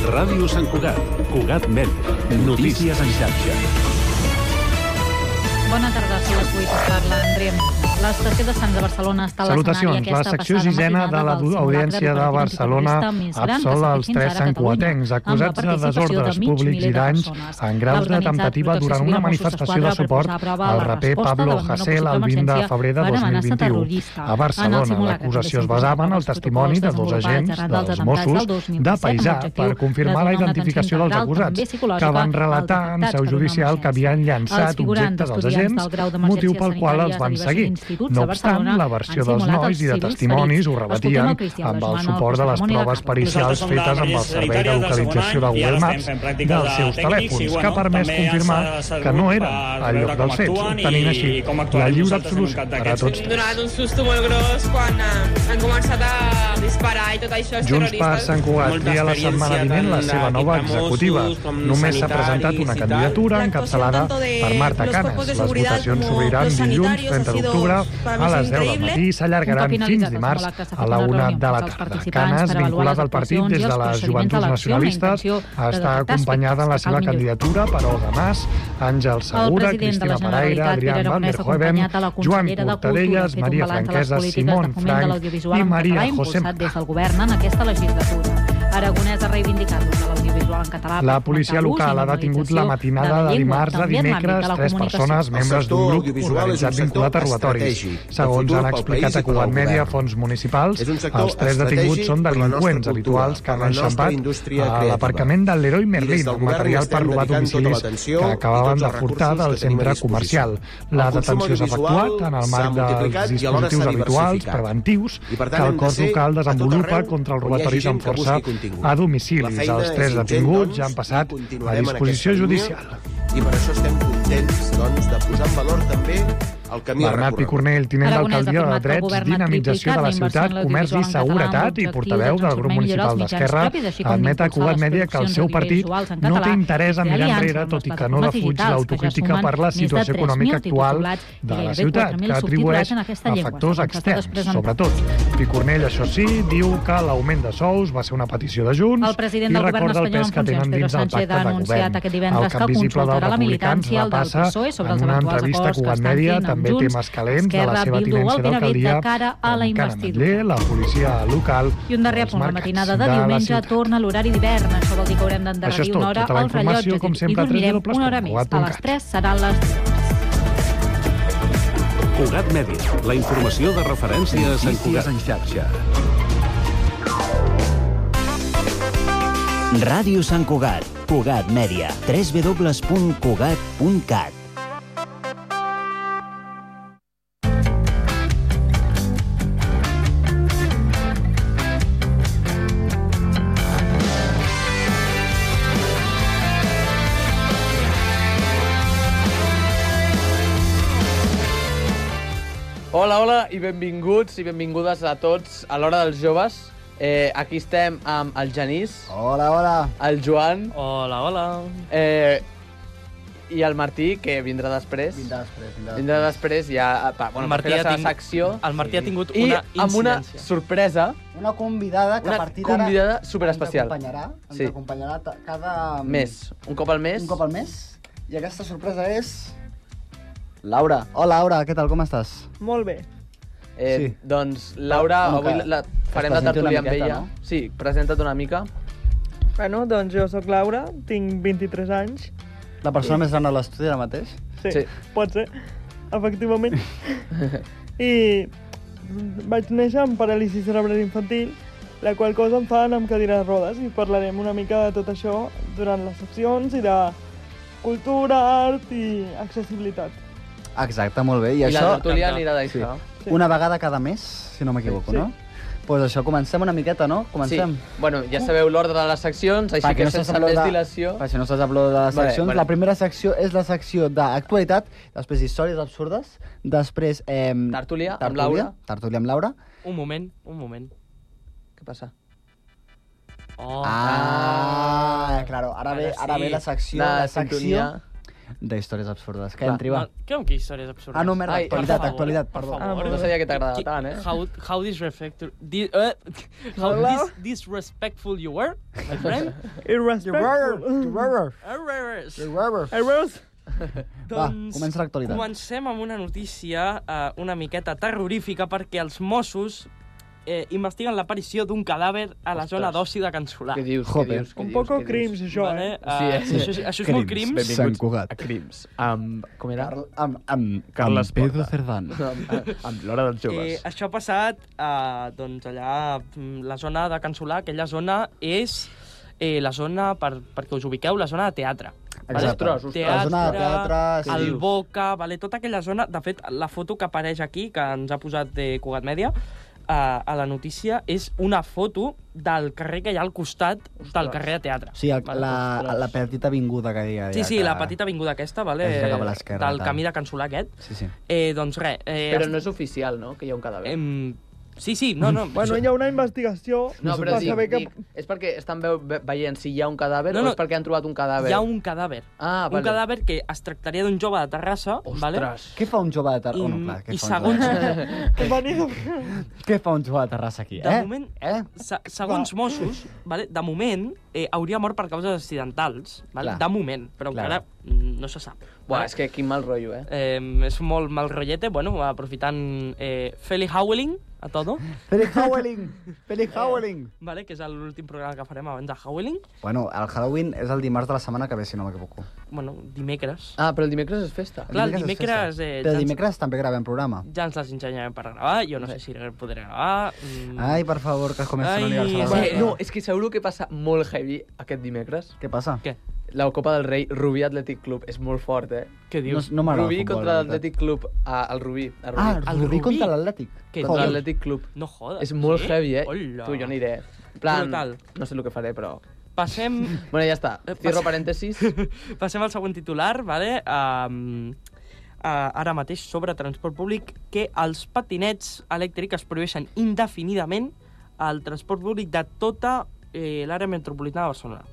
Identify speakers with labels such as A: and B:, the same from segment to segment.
A: Ràdio Sant Cugat, Cugat Mèdia, notícies en xarxa.
B: Bona tarda, si les 8 us parla Andrea. L'estació de Sants de Barcelona està a
C: Salutacions.
B: l'escenari
C: La
B: aquesta
C: secció
B: passada
C: sisena de
B: matinada del
C: l'Audiència
B: simulacre
C: de
B: d'un partit
C: Barcelona
B: antiterrorista més gran que
C: absola
B: s'ha fet
C: els
B: fins
C: tres
B: ara a Catalunya,
C: sancuatencs
B: amb la
C: acusats de
B: participació
C: desordres
B: mig
C: públics
B: miler
C: i
B: de
C: danys
B: persones.
C: en graus de
B: L'organitzat
C: temptativa
B: Protecció
C: durant
B: Civil
C: una
B: de Mossos
C: manifestació de
B: d'Esquadra per
C: suport
B: posar a prova
C: al
B: la
C: raper
B: resposta
C: Pablo
B: davant una
C: Hasél el
B: possible
C: 20 de
B: emergència
C: febrer de
B: per amenaça
C: 2021.
B: terrorista.
C: A
B: En el
C: Barcelona,
B: simulacre
C: l'acusació es
B: també
C: basava en el
B: s'indicaven els
C: testimoni de dos
B: protocols
C: agents
B: desenvolupats arran dels
C: dels
B: atemptats
C: Mossos
B: del 2017
C: de
B: amb
C: Paisà
B: l'objectiu
C: per
B: de
C: confirmar la
B: donar una
C: identificació
B: atenció
C: dels
B: integral, també
C: acusats,
B: psicològica,
C: que van
B: als
C: relatar en
B: detectats
C: seu
B: per una
C: judicial que havien
B: emergència. Els
C: llançat
B: figurants,
C: objectes als
B: estudiants
C: agents,
B: del grau d'emergències
C: motiu pel qual els
B: sanitàries
C: van
B: de
C: seguir.
B: diversos instituts
C: No
B: de
C: obstant,
B: Barcelona
C: la
B: han
C: versió dels
B: simulat
C: nois
B: els
C: i de
B: civils
C: testimonis ho
B: ferits.
C: rebatien
B: Escoltem el Cristian
C: amb el
B: Bergman, el
C: suport de les
B: testimoni de
C: proves
B: Carles.
C: pericials
D: Nosaltres som de la
C: fetes amb el
D: Ministra
C: servei de
D: Sanitària del
C: localització
D: segon
C: de
D: any, i ara
C: Google
D: estem
C: Maps
D: fent pràctiques
C: dels
D: de
C: seus
D: tècnics i,
C: telèfons,
D: bueno,
C: que ha permès
D: també ens
C: confirmar
D: ha servit
C: que no eren
D: per
C: al lloc
D: veure com
C: dels fets,
D: actuen i
C: obtenint així
D: com actuarem
C: la lliure
D: nosaltres en un
C: absolució
D: cas
C: per a
D: d'aquests.
C: tots
E: Hem
C: tres.
E: donat un susto molt gros quan eh, han començat a disparar i tot això els
C: Junts per
E: terroristes.
C: Sant Cugat
D: Molta
C: tria la setmana
D: experiència
C: vinent la
D: tant
C: seva nova
D: d'equip de
C: executiva.
D: Mossos com
C: Només s'ha presentat
D: sanitaris
C: una
D: i tal.
C: candidatura
F: La actuación
C: encapçalada
F: tanto de
C: per Marta
F: los
C: Canes.
F: cuerpos de
C: Les
F: seguridad
C: votacions
F: como
C: s'obriran
F: los
C: dilluns
F: sanitarios ha
C: 30
F: sido
C: d'octubre
F: para nosotros
C: a les 10 del
F: increíble.
C: matí i s'allargaran
B: Un cop
C: fins
B: finalitzat el
C: dimarts
B: simulacre, s'ha
C: a
B: fet
C: la
B: una
C: 1
B: reunió
C: de
B: amb
C: la
B: els
C: tarda.
B: participants
C: Canes,
B: per avaluar
C: vinculat
B: les
C: al partit
B: actuacions
C: des
B: i
C: de
B: els
C: les
B: procediments
C: joventuts
B: de l'acció amb la
C: nacionalistes,
B: intenció de
C: està
B: detectar
C: acompanyada en la
B: aspectes que
C: seva
B: cal millorar.
C: candidatura per Olga Mas, Àngel
B: El
C: Segura,
B: president de la
C: Cristina
B: Generalitat,
C: Paraire,
B: Pere
C: Adrián Van
B: Aragonès,
C: der Hoeven,
B: acompanyat de la
C: Joan
B: consellera de Cultura, ha
C: Cortadellas,
B: fet un
C: Maria
B: balanç de les
C: Franquesa,
B: polítiques de
C: Simón
B: foment de
C: Frank
B: l'audiovisual
C: i
B: en
C: Maria
B: català
C: José
B: impulsat des del govern en aquesta legislatura. Aragonès ha reivindicat l'ús de l'audiovisual en català. per
C: La
B: fomentar
C: policia
B: l'ús
C: local
B: i
C: ha detingut la
B: normalització
C: matinada de,
B: la llengua,
C: dimarts a
B: també en l'àmbit
C: dimecres
B: de la
C: tres
B: comunicació.
C: persones membres d'un
G: sector
C: grup
G: audiovisual
C: organitzat
G: és un
C: vinculat a
G: sector
C: robatoris.
G: estratègic, de
C: Segons
G: futur
C: han
G: pel
C: explicat
G: país i per
C: a
G: al
C: Cugat Mèdia,
G: govern.
C: fons municipals,
G: És un sector
C: els tres detinguts
G: estratègic
C: són
G: per la nostra
C: delinqüents
G: cultura,
C: habituals que han
G: per la nostra
C: enxampat
G: indústria
C: a
G: creativa.
C: l'aparcament del Leroy
G: I des
C: Merlin,
G: del
C: el
G: govern
C: material
G: estem
C: per robar
G: dedicant tota
C: domicilis
G: l'atenció
C: que
G: i
C: acabaven
G: tots
C: de
G: els
C: furtar
G: recursos
C: del
G: que tenim a
C: centre
G: disposició. El
C: comercial. La
G: consum
C: detenció s'ha
G: audiovisual
C: efectuat en el
G: s'ha
C: marc
G: multiplicat
C: dels
G: i alhora s'ha
C: dispositius habituals
G: diversificat.
C: preventius
G: I, per tant,
C: que
G: hem
C: el
G: de
C: cos
G: ser
C: local
G: a tot
C: desenvolupa
G: arreu
C: contra els
G: on hi hagi
C: robatoris
G: gent
C: amb
G: que busqui
C: força
G: contingut.
C: a
G: La
C: domicilis.
G: feina
C: Els
G: és
C: tres
G: ingent,
C: detinguts
G: doncs,
C: ja han passat
G: i
C: a
G: continuarem en
C: disposició
G: aquesta línia.
C: judicial.
G: I per això estem contents doncs, de posar en valor també el camí
C: Bernat
G: recorregut.
C: Picornell, tinent
B: Aragonès
C: d'alcaldia
B: ha
C: de
B: afirmat que el
C: Drets,
B: govern ha
C: Dinamització de la
B: triplicat
C: Ciutat,
B: la inversió en
C: Comerç i
B: l'audiovisual en català amb
C: Seguretat i
B: l'objectiu
C: portaveu
B: de
C: del grup
B: transformar i millorar
C: municipal
B: els mitjans
C: d'Esquerra
B: propis, així com
C: admet a
B: d'impulsar
C: Cugat
B: les
C: Mèdia que el seu
B: produccions
C: partit
B: audiovisuals en
C: no
B: català,
C: té interès a
B: fer
C: mirar
B: aliances
C: enrere,
B: amb
C: tot
B: les
C: i que no
B: plataformes
C: defuig
B: digitals, que ja
C: l'autocrítica per la
B: sumen
C: situació
B: més de
C: econòmica
B: 3.000
C: actual
B: titulats i
C: de la
B: gairebé
C: ciutat,
B: 4.000
C: que atribueix
B: subtitulats en aquesta
C: a
B: llengua,
C: factors
B: segons ha estat
C: externs,
B: presentat.
C: sobretot. Picornell, això sí, diu que l'augment de sous va ser una petició de Junts
B: El president
C: i
B: del govern
C: recorda el
B: espanyol en
C: pes que
B: funcions,
C: tenen
B: Pedro
C: dins el
B: Sánchez,
C: pacte
B: ha
C: de
B: anunciat
C: govern.
B: aquest divendres
C: el
B: que
C: cap visible dels
B: consultarà la
C: republicans
B: militància, el del
C: repassa
B: PSOE, sobre els
C: en una
B: eventuals
C: entrevista
B: acords que
C: a Cugat
B: estan
C: Mèdia
B: fent amb
C: també
B: Junts,
C: temes calents de la
B: Esquerra,
C: seva
B: Bildu,
C: tinença
B: el Pinedit,
C: d'alcaldia
B: de cara a la
C: Encara
B: investidura.
C: Ametller, la policia local
B: I un darrer
C: dels
B: punt, la
C: mercats
B: matinada de,
C: la
B: diumenge
C: ciutat.
B: torna l'horari d'hivern. Això vol dir que haurem
C: Això és
B: d'endarrerir
C: tot.
B: una hora
C: Tota la
B: al
C: informació,
B: rellotge
C: com
B: i
C: sempre, a
B: dormirem una hora més. A
C: www.cugat.cat.
B: les 3 seran les
A: Cugat Mèdia, la informació de referència a Sant Cugat.
H: en xarxa.
I: Ràdio Sant Cugat, Cugat Mèdia, www.cugat.cat.
J: Hola, hola i benvinguts i benvingudes a tots a l'Hora dels Joves. Eh, aquí estem amb el Genís,
H: Hola, hola.
J: el Joan
K: Hola, hola.
J: eh, i el Martí, que vindrà després.
H: Vindrà després, vindrà després.
J: Vindrà després ja eh, pa, bueno,
K: El
J: per fer la seva
K: tingut-
J: secció.
K: El Martí ha tingut
J: I
K: una
J: amb una
K: incidència.
J: sorpresa,
H: Una convidada que
J: Una
H: a partir d'ara...
J: convidada superespecial.
H: Ens acompanyarà, ens
J: Sí.
H: acompanyarà ta- cada... mm,
J: més, un cop al mes.
H: Un cop al mes. I aquesta sorpresa és... Laura. Hola, Laura, què tal, com estàs?
K: Molt bé.
J: Eh,
H: sí.
J: Doncs Laura,
H: Com que
J: avui la, farem
H: presenti
J: la
H: una
J: tertúlia amb
H: miqueta,
J: ella.
H: no?
J: Sí, presenta't una mica.
K: Bueno, doncs jo sóc Laura, tinc 23 anys.
H: La persona més gran de l'estudi ara mateix?
K: Sí,
J: Sí.
K: sí. pot ser, efectivament. I vaig néixer amb paràlisi cerebral infantil, la qual cosa em fan amb cadira de rodes i parlarem una mica de tot això durant les seccions i de cultura, art i accessibilitat.
H: Exacte, molt bé. I,
J: I, la
H: això
J: tertúlia anirà d'això.
K: Sí.
H: una vegada cada mes, si no m'equivoco,
K: Sí.
H: no? Doncs pues això, comencem una miqueta, no? Comencem.
J: Bueno, ja sabeu l'ordre de les seccions, així
H: Perquè
J: que
H: no
J: sense
H: s'assembla
J: més
H: de-
J: dilació...
H: Per si no saps hablar de les
J: Vale,
H: seccions,
J: vale.
H: la primera secció és la secció d'actualitat, després històries absurdes, després... Eh,
J: Tertúlia amb Laura.
H: Tertúlia amb Laura.
K: Un moment, un moment.
J: Què passa?
K: Oh,
J: Oh,
H: Ah, claro. Ara,
K: Ara
H: ve, ara
K: sí.
H: Ah,
J: ah.
H: ve la secció,
J: Una
H: la secció,
J: sintonia.
H: de històries absurdes. Que
J: Va,
H: entri, va.
D: Què amb qui històries absurdes?
H: Ah, no, merda,
J: Ai,
H: actualitat,
D: per favor,
H: actualitat,
D: per
H: perdó.
D: favor.
J: Ah, No sabia que t'agradava
D: Qui-
J: tant, eh?
D: How, how disrespectful... Di, eh, how dis, disrespectful you were, my friend.
K: Irrespectful.
D: Errors.
K: Errors.
H: Va,
D: Doncs
H: comença l'actualitat.
D: Comencem amb una notícia eh, una miqueta terrorífica perquè els Mossos eh, investiguen l'aparició d'un cadàver a la
J: Ostres.
D: zona d'oci de Can Solà.
J: Què dius?
H: Jope.
J: Què dius? Què
K: Un
J: dius?
K: poco
J: Què
K: crims,
J: dius?
K: això, eh?
D: Eh,
J: Sí, eh?
D: això, és- això és molt
H: Crims.
D: crims.
H: Sant Cugat.
J: A crims. Amb... Com era?
H: Carl- Amb, amb,
J: Carles
H: amb Pedro
J: Porta.
H: Cerdán.
J: amb, amb l'hora dels
D: Eh,
J: joves.
D: això ha passat eh, doncs allà, mm, la zona de Can Solà, aquella zona és eh, la zona, per, perquè us ubiqueu, la zona de teatre.
H: Exacte.
J: Ostres, ostres.
H: La zona de teatre, sí.
D: el Boca, vale, tota aquella zona... De fet, la foto que apareix aquí, que ens ha posat de Cugat Mèdia, a, a la notícia, és una foto del carrer que hi ha al costat Ostres. del carrer de teatre.
H: Sí, el,
D: Vale,
H: la,
D: ostres.
H: la petita avinguda que diga.
D: Sí, sí,
H: que...
D: la petita avinguda aquesta, vale,
H: Es acaba a l'esquerra,
D: del
H: tal.
D: camí de Can Solà aquest.
H: Sí, sí.
D: Eh, doncs res... Eh,
J: Però no és oficial, no?, que hi ha un cadàver.
D: em... Sí, sí, no, no.
K: Bueno, hi ha una investigació
J: No, però
K: per
J: dic,
K: saber que...
J: dic, és perquè estan veu, ve, veient si hi ha un cadàver no,
D: No, no.
J: no. o és perquè han trobat un cadàver.
D: Hi ha un cadàver.
J: Ah,
D: Un
J: vale.
D: cadàver que es tractaria d'un jove de Terrassa,
J: Ostres.
D: vale?
H: Què fa un jove de Terrassa?
D: I,
H: Oh, no, clar, eh? què
D: i
H: fa un
D: segons,
H: jove de
K: Veniu.
J: Ah,
H: Terrassa? Què fa un jove de Terrassa aquí, eh?
D: De moment,
H: Eh?
D: se, segons Mossos, vale? de moment, eh, hauria mort per causes accidentals, vale?
H: Clar.
D: de moment, però
H: Clar.
D: encara mm, no se sap.
J: Buah,
D: vale?
J: és que quin mal rotllo, eh?
D: Eh, és molt mal rotllete, bueno, aprofitant eh, Feli Howling a todo,
H: Feli Howling! Feli Howling!
D: vale? que és l'últim programa que farem abans de Howling,
H: Bueno, el Halloween és el dimarts de la setmana que ve, si no m'equivoco.
D: bueno, dimecres.
J: Ah, però el dimecres és festa.
D: Clar, el
H: és
D: dimecres, eh,
H: festa. Però
D: ja ens- Mm.
H: dimecres també gravem programa.
D: Ja ens les ensenyarem per gravar, jo no sé si podré gravar... Mm,
H: Ai, per favor, que es comença
D: Ai,
H: l'aniversari.
D: sí.
J: Eh,
H: de-
J: no, és que sabeu el que passa molt heavy aquest dimecres?
H: Què passa?
D: Què?
J: La Copa del Rei, Rubí Atlètic Club, és molt fort, eh?
D: Què
H: No,
D: dius?
H: no m'agrada
J: Rubí
H: el futbol,
J: contra
H: la veritat.
J: l'Atlètic Club, a, al Rubí, a Rubí.
H: Ah, el Rubí,
D: Rubí.
H: contra l'Atlètic.
J: contra
D: Què dius?
H: Joder.
J: l'Atlètic Club.
D: No jodes.
J: És molt
D: sí?
J: heavy, eh?
D: Hola.
J: Tu, jo aniré. En plan,
D: Brutal.
J: no sé el que faré, però...
D: Passem,
J: Bueno, ja està.
D: Eh,
J: Cierro
D: passa-
J: parèntesis.
D: passem al següent titular, vale? Um, uh, ara mateix sobre transport públic, que els patinets elèctrics es prohibeixen indefinidament al transport públic de tota eh, l'àrea metropolitana de Barcelona.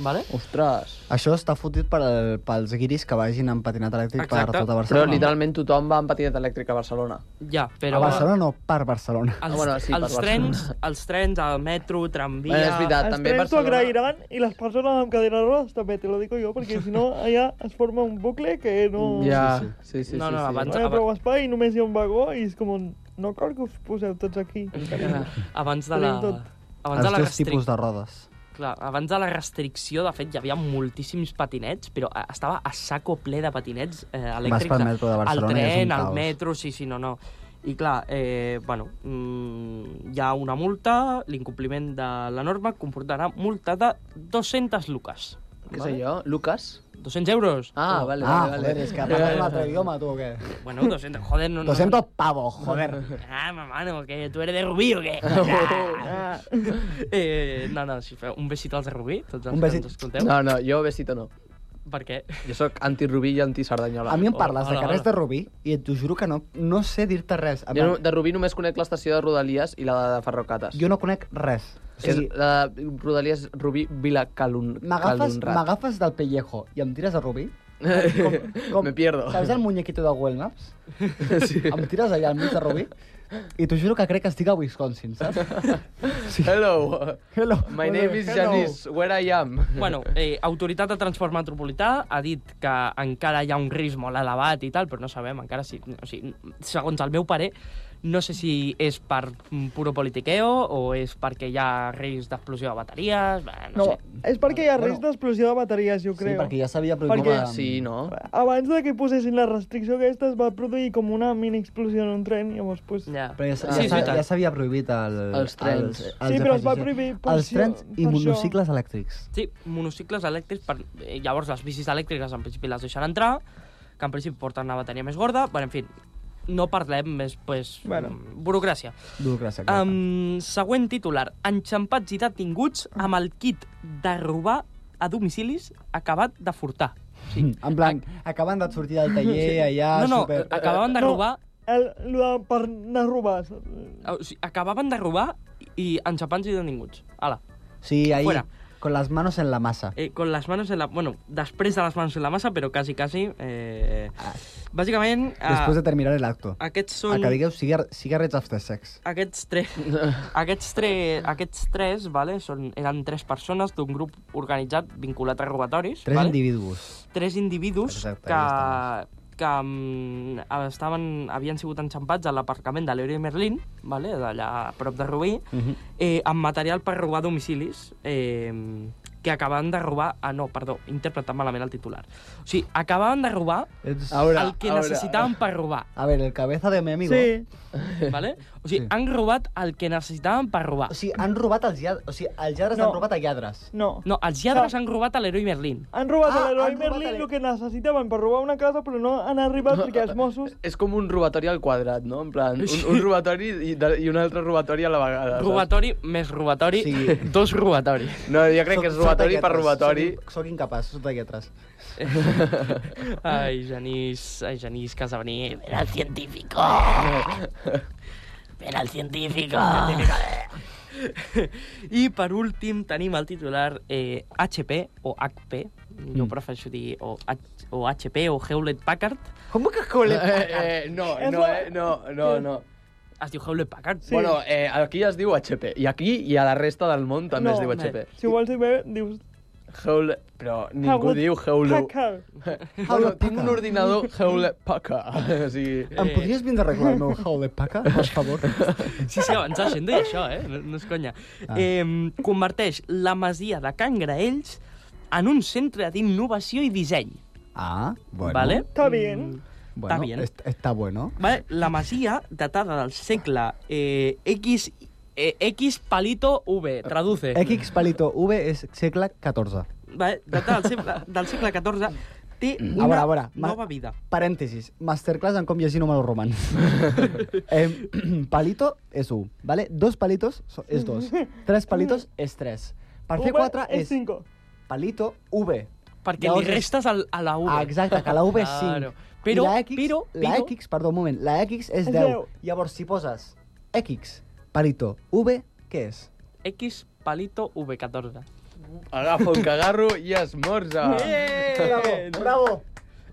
D: Vale?
J: Ostres.
H: Això està fotut per al, pels guiris que vagin amb patinat elèctric
D: Exacte.
H: per tota
J: Però
H: Barcelona.
J: literalment tothom va amb patinet elèctric a Barcelona.
D: Ja, però...
H: A Barcelona no, per Barcelona.
D: Els,
J: Ah, bueno, sí, per
D: els,
J: Barcelona.
D: trens, els trens, el metro, tramvia...
J: Bueno, és veritat,
K: Els
J: també
K: trens t'ho
J: Barcelona...
K: agrairan i les persones amb cadira de rodes també, "Oh, te lo digo jo, perquè si no allà es forma un bucle que no...
J: Ja, sí, sí, sí.
D: No, no,
J: sí,
D: abans-
K: No hi ha prou espai, només hi ha un vagó i és com un... No cal que us poseu tots aquí.
D: eh, Abans de la...
K: Tenim tot.
D: Abans de
H: Els
D: la
H: dos
D: restric...
H: tipus de rodes.
D: Clar, abans de la restricció, de fet, hi havia moltíssims patinets, però eh, estava a saco ple de patinets eh, elèctrics.
H: pel metro de Barcelona
D: El
H: i és un
D: tren,
H: caos.
D: el metro, sí, sí, no, no. I clar, eh, bueno, mm, hi ha una multa, l'incompliment de la norma comportarà multa de 200 luques.
J: Què sé jo? Lucas?
D: 200 euros.
J: Ah, vale,
H: Ah,
J: vale,
H: joder,
J: vale.
H: és que parles un altre idioma, tu, o què?
D: Bueno, 200, joder, no... no-
H: 200 pavos, joder.
D: Ah, mamano, que tu eres de Rubí o què?
H: Oh.
D: Ah. eh, no, no, si feu un besito als de Rubí, tots els
H: Un besit.
D: que ens escolteu.
J: No, no, jo besito no.
D: Per què?
J: Jo sóc anti-Rubí i anti-Cerdanyola.
H: A mi em
D: Hola,
H: parles de
D: hola,
H: carrers
D: hola.
H: de Rubí i et t'ho juro que no, no sé dir-te res. En
J: Jo no,
H: plan,
J: de Rubí només conec l'estació de Rodalies i la de Ferrocates.
H: Jo no conec res. O
J: És
H: sigui,
J: la de Rodalies Rubí Vila Calun,
H: m'agafes
J: Calunrat.
H: m'agafes del pellejo i em tires a Rubí?
J: Me pierdo.
H: Saps el muñequito de Google Maps? Sí. Em tires allà al mig de Rubí i t'ho juro que crec que estic a Wisconsin, saps?
J: Hello.
H: Hello.
J: My name is
H: Hello.
J: Janice. Where I am.
D: Bueno, eh, Autoritat de Transport Metropolità ha dit que encara hi ha un risc molt elevat i tal, però no sabem encara si... O sigui, segons el meu parer, no sé si és per mm, puro politiqueo o és perquè hi ha risc d'explosió de bateries... Bé, no,
K: No,
D: sé.
K: és perquè hi ha risc
H: Bueno.
K: d'explosió de bateries, jo
H: Sí,
K: crec.
H: perquè ja s'havia produït...
K: Perquè-
H: una-
J: Sí, no?
K: Abans de que posessin la restricció aquesta es va produir com una mini explosió en un tren, llavors, pues...
D: Ja.
H: Però ja,
D: Sí,
H: s'ha- ja
D: és
H: s'ha-
D: veritat.
H: ja s'havia prohibit el,
J: Els trens.
K: Sí, però es va
H: FCC.
K: prohibir per
H: Els
K: això-
H: trens i
K: per això.
H: monocicles elèctrics.
D: Sí, monocicles elèctrics, per... eh, llavors les bicis elèctriques en principi les deixen entrar, que en principi porten una bateria més gorda, però en fi, no parlem més, pues,
K: Bueno.
D: bueno. burocràcia.
H: Burocràcia, clar.
D: Um, següent titular. Enxampats i detinguts amb el kit de robar a domicilis acabat de furtar.
H: Mm, En plan, acaben de sortir del taller allà,
D: no, no,
H: Ah, super...
D: acabaven de
K: No.
D: robar... eh,
K: El, el de, per anar a robar.
D: O sigui, acabaven de robar i enxampats i detinguts. Ala.
H: Sí, ahir,
D: Fuera.
H: Con las manos en la masa.
D: Eh, con les manos en la... Bueno, després de les manos en la massa, però quasi, quasi... Eh, bàsicament... Eh,
H: Después Ah. de terminar el acto.
D: Aquests
H: El
D: són...
H: que digueu cigar cigarrets after sex.
D: Aquests tres, aquests, tre, aquests tres vale, són, eren tres persones d'un grup organitzat vinculat a robatoris.
H: Tres
D: vale?
H: individus.
D: tres individus
H: Exacte, ja
D: que, que mm, estaven, havien sigut enxampats a l'aparcament de l'Eure Merlin, vale? d'allà a prop de Rubí,
H: Mhm.
D: eh, amb material per robar domicilis eh, que acabaven de robar... Ah, no, perdó, he interpretat malament el titular. O sigui, acabaven de robar
H: Ets-
J: A veure,
D: el que
J: a veure.
D: necessitaven
H: eh,
D: per robar,
H: A ver, el cabeza de mi amigo...
K: Sí,
D: vale? O sigui,
H: Sí.
D: han robat el que necessitaven per robar.
H: O sigui, han robat els lladres. O sigui, els lladres
K: No.
H: han robat a lladres.
K: no.
D: No, els lladres han robat a l'heroi Merlin.
K: Han robat
H: Ah,
K: a l'heroi
H: han robat a
K: Merlin
H: l'he-
K: el que necessitaven per robar una casa, però no han arribat perquè els Mossos...
J: És com un robatori al quadrat, no? En plan, un, un robatori i, de- i un altre robatori a la vegada. saps?
D: Robatori més robatori,
H: Sí.
D: dos robatoris.
J: No, jo crec que és
H: Soc- soc
J: robatori
H: de
J: per
H: lletres,
J: robatori.
H: Soc, soc incapaç, soc de lletres.
D: Ai, Genís, ai, Genís Casabanil.
F: Era el científico. Era el científico.
D: I per últim tenim el titular eh, HP o HP, jo prefereixo dir o, H, o HP o Hewlett Packard.
H: Com que col·le...
J: Eh, eh, no,
K: És
J: no,
K: la-
J: eh, no, no, no.
D: Es diu Hewlett Packard?
J: Sí. Bueno, eh, aquí es diu HP. I aquí i a la resta del món també
K: No,
J: es diu
K: home.
J: HP.
K: Si ho vols dir bé, dius...
J: Hewlett... Però ningú
K: Hewlett
J: diu Hewlett...
K: Hacker.
J: Bueno, tinc un ordinador Hewlett Packard. O sigui...
H: Em
D: Eh,
H: podries vindre a arreglar el meu hall de paca, per favor?
D: Sí, sí, abans la gent deia això, eh? No, no és conya.
H: Ah.
D: Eh, converteix la masia de Can Graells en un centre d'innovació i disseny.
H: Ah, bueno.
D: Vale? Mm.
K: Està bien.
H: Bueno,
D: Está bien.
H: est- está bueno.
D: Vale, la masia, datada del segle eh, X, eh, X palito V, traduce.
H: X palito V és segle XIV.
D: Vale, datada del segle, del segle XIV, té una
H: A veure, a veure. Mm. ma-
D: nova vida.
H: Parèntesis. Masterclass en com llegir números romans. eh, palito és 1, vale? Dos palitos so- és 2. Tres palitos és 3. Per fer
K: V
H: 4
K: és
H: és
K: 5.
H: palito V.
D: Perquè
H: Llavors
D: li
H: és-
D: restes al, a la U.
H: Ah, exacte, que la V és 5.
D: Claro. Però,
H: I la X,
D: però,
H: La
D: però,
H: X, perdó, un moment, la X és
K: És
H: 10.
K: deu.
H: Llavors, si poses X, palito, V, què és?
D: X palito V14.
J: Agafa un cagarro i esmorza.
H: Ah. Bravo, bravo.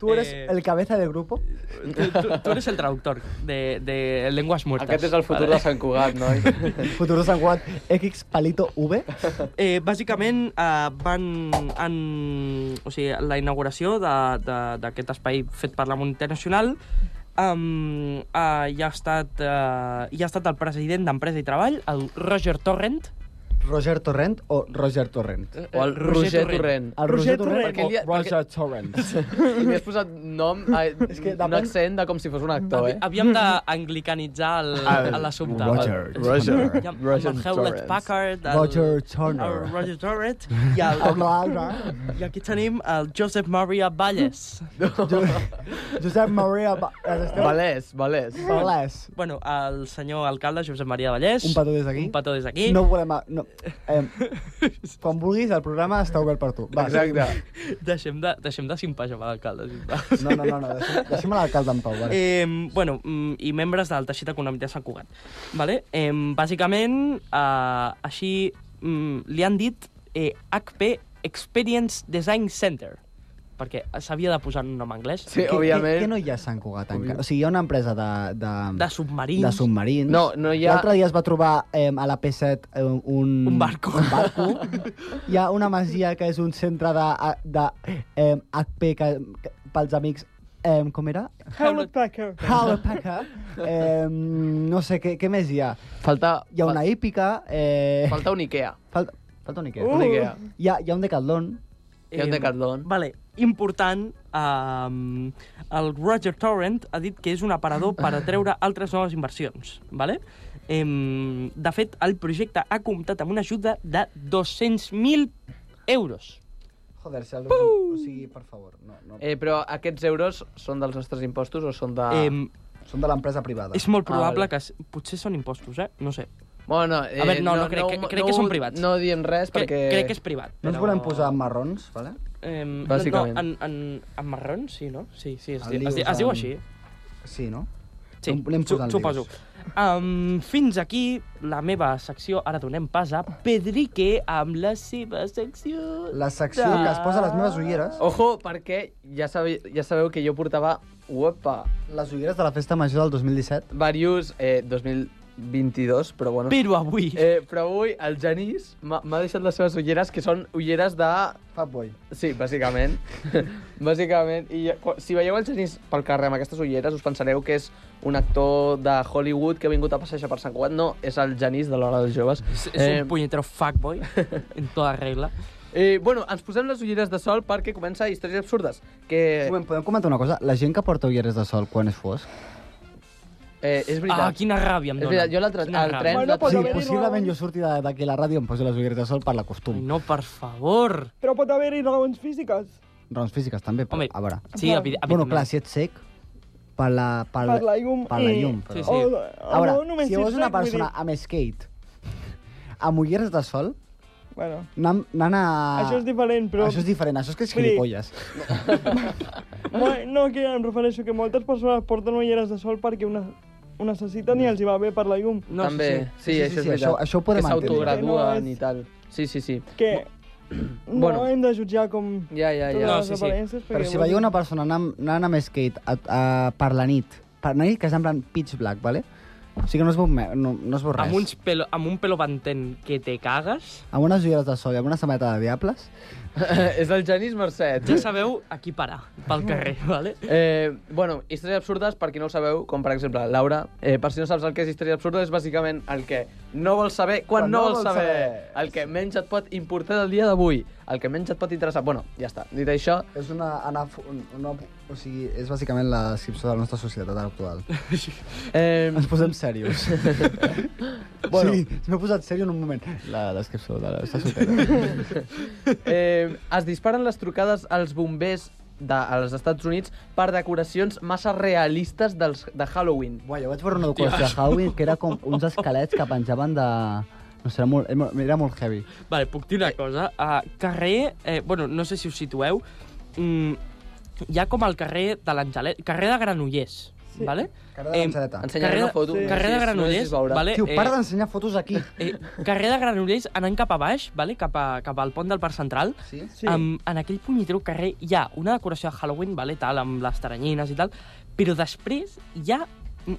H: Tu eres
D: Eh.
H: el cabeza del grupo.
D: Tu, Eh, tu, tu eres el traductor de, de Lenguas Muertes.
J: Aquest és el futur de Sant Cugat, noi.
H: Futuro San Juan, X, palito, V.
D: Eh, bàsicament, eh, van en... O sigui, la inauguració de- de- d'aquest espai fet per la Monetat Nacional um, eh, ja, ha estat, eh, ja ha estat el president d'Empresa i Treball, el Roger Torrent.
H: Roger Torrent o Roger Torrent?
J: O el Roger Torrent.
H: El
K: Roger
H: Roger, Torrent,
K: Torrent.
J: Perquè li-
H: o Roger Torrent.
J: Li has posat nom, a,
H: És que
J: un
H: depèn-
J: accent de com si fos un actor, eh?
D: Havíem d'anglicanitzar
H: Ah,
D: el- l'assumpte.
I: Roger.
J: Roger.
D: Hi ha- amb
J: Roger
D: el Hewlett
J: Torrance.
D: Packard, el,
H: Roger
D: el
H: Turner.
D: Roger Torrent i, el, i aquí tenim el Josep Maria Valles.
H: Josep Maria... Ba- els esteu-
J: Valès, Valès.
H: Valés.
D: Bueno, el senyor alcalde Josep Maria Vallès.
H: Un petó des d'aquí.
D: Un petó des d'aquí.
H: No volem... a- No. Eh, quan vulguis, el programa està obert per tu. Va,
J: Exacte.
D: Deixem de, deixem de simpejar amb l'alcalde, sisplau.
H: No, no, no, no deixem, deixem a l'alcalde en pau. Vale.
D: Eh, bueno, mm, i membres del teixit econòmic de Sant Cugat. Vale? Eh, bàsicament, eh, així mm, li han dit eh, HP Experience Design Center, perquè s'havia de posar un nom anglès.
J: Sí,
H: Què-
J: òbviament.
H: Què, què no hi ha a Sant Cugat encara? O sigui, hi ha una empresa de... De,
D: De submarins.
H: de submarins.
J: No, no hi ha-
H: L'altre dia es va trobar eh, a la P7 eh, un...
D: Un barco.
H: Un barco. hi ha una masia que és un centre de, de eh, HP que, que, pels amics... Eh, com era?
K: Hewlett Packer.
H: Halapaca. Eh, no sé, què, què més hi ha?
J: Falta...
H: Hi ha una hípica... Eh,
J: Falta un Ikea.
H: falta, falta un Ikea.
J: Un Ikea.
H: Hi, ha, hi ha un decathlon.
J: Hi ha un Decathlon.
D: Vale, important, um, el Roger Torrent ha dit que és un aparador per atreure altres noves inversions, vale? Em, de fet, el projecte ha comptat amb una ajuda de 200.000 euros.
H: Joder, si el... O sigui, per favor, no, no.
J: Eh, però aquests euros són dels nostres impostos o són de...
D: Ah.
J: Eh,
H: Són de l'empresa privada.
D: És molt
J: Ah,
D: probable
J: vale.
D: que... s- Potser són impostos, eh? No sé.
J: bueno, eh,
D: A veure, no, no, crec que- crec que
J: ho-
D: són privats.
J: No diem res
D: Crec,
J: perquè...
D: crec que és privat.
H: No ens volem posar en marrons, vale?
D: Em,
J: Bàsicament.
D: No, en, en, en marrons, sí, no? Sí, sí, es,
H: El
D: di, es, di,
H: dius
D: es diu
H: en-
D: així.
H: Sí, no?
D: Sí,
H: Anem
D: su-
H: posant
D: suposo. Um, fins aquí la meva secció. Ara donem pas a Pedrique amb la seva secció.
H: La secció que es posa les meves ulleres.
J: Ojo, perquè ja, sabe, ja sabeu que jo portava... Uepa!
H: Les ulleres de la Festa Major del 2017.
J: Varios eh, 2022, però bueno...
D: Però avui...
J: Eh, però avui el Genís m'ha m'ha deixat les seves ulleres, que són ulleres de...
H: Fatboy.
K: Eh.
J: Sí, bàsicament. bàsicament. I ja- quan- si veieu el Genís pel carrer amb aquestes ulleres, us pensareu que és un actor de Hollywood que ha vingut a passejar per Sant Cugat. No, és el Genís de l'Hora dels Joves.
D: És, és un punyetero fuckboy, en tota regla.
J: Eh, bueno, ens posem les ulleres de sol perquè comença Històries Absurdes, que
H: Moment, podem comentar una cosa? La gent que porta ulleres de sol quan és fosc...
J: eh, és veritat.
D: Ah, quina ràbia em
J: És
D: dóna.
J: veritat, jo l'altre...
D: Quina
J: El
D: ràbia.
J: tren...
K: Bueno,
J: l'altre-
K: pues
H: sí,
K: haver-hi
H: possiblement
K: raons.
H: jo surti de- d'aquí la ràdio i em poso les ulleres de sol per la
D: Ai,
H: costum.
D: No, per favor.
K: Però pot haver-hi raons físiques.
H: Raons físiques també, però,
D: Home,
H: a veure.
D: Sí,
K: Clar.
D: evident-
H: Bueno, clar,
D: evidentment.
H: si ets sec, per la, per,
K: Per la llum
H: Per la
K: i-
H: llum, però...
D: Sí,
K: Sí.
D: sí.
K: O,
H: A
K: o
H: veure,
K: no, només
H: si
K: ets
H: veus
K: sec,
H: una
K: vull
H: persona
K: dir-
H: amb skate, amb ulleres de sol,
K: Bueno,
H: anant, anant a...
K: això és diferent, però...
H: Ah. Això és diferent, això és que és
K: Vull dir-
H: gilipolles.
K: Mo- No, que em refereixo que moltes persones porten ulleres de sol perquè una, ho necessiten i els hi va bé per la llum.
D: No,
J: També,
H: sí,
J: sí,
H: sí,
J: això
H: sí,
J: és veritat.
H: això- això ho podem
J: que
H: entendre.
J: s'autograduen
K: Que no és-
J: i tal. Sí, sí, sí.
K: Que no
J: Bueno.
K: hem de jutjar com
J: Ja, ja,
K: totes
J: ja.
D: No,
K: les
D: sí, sí.
K: aparences. Sí.
H: Però si veieu una persona anant, anant amb skate a, a, per la nit, per la nit que és en plan pitch black, vale? O sigui que no es veu, me- no, no es veu res.
D: Amb, uns pelo, amb un pelo bantent que te cagues,
H: amb unes ulleres de sol i amb una samarreta de diables,
J: és el Genís Mercet.
D: ja sabeu a qui parar pel carrer, vale?
J: Eh, bueno, històries absurdes, per qui no ho sabeu, com per exemple Laura, eh, per si no saps el que és història absurda, és bàsicament el que no vols saber quan, no, vols saber. El que menys et pot importar del dia d'avui, el que menys et pot interessar. Bueno, ja està. Dit això,
H: És una, anar, una, o sigui, és bàsicament la descripció de la nostra societat actual.
J: eh,
H: Ens posem serios.
J: Bueno.
H: bueno. Sí, m'he posat serio en un moment. La descripció de la nostra societat.
J: eh, es disparen les trucades als bombers de, als Estats Units per decoracions massa realistes dels, de Halloween.
H: Buah, jo vaig veure una decoració de Halloween que era com uns esquelets que penjaven de... No sé, era molt, era molt heavy.
D: Vale, puc dir una cosa. Uh, carrer, eh, bueno, no sé si us situeu, mm, hi ha com el carrer de l'Angelet, carrer de Granollers, sí. vale?
H: Carrer de l'Angeleta.
J: Ensenyaré
D: carrer-
J: una foto.
K: sí.
D: Carrer
J: si- no
D: de
J: sé si
D: Granollers,
J: es veurà.
D: vale?
H: Tio, para d'ensenyar fotos aquí.
D: eh, carrer de Granollers, anant cap a baix, vale? cap, a, cap al pont del Parc Central,
H: Sí?
K: Sí.
D: Em- en aquell punyetero carrer hi ha una decoració de Halloween, vale, tal, amb les taranyines i tal, però després hi ha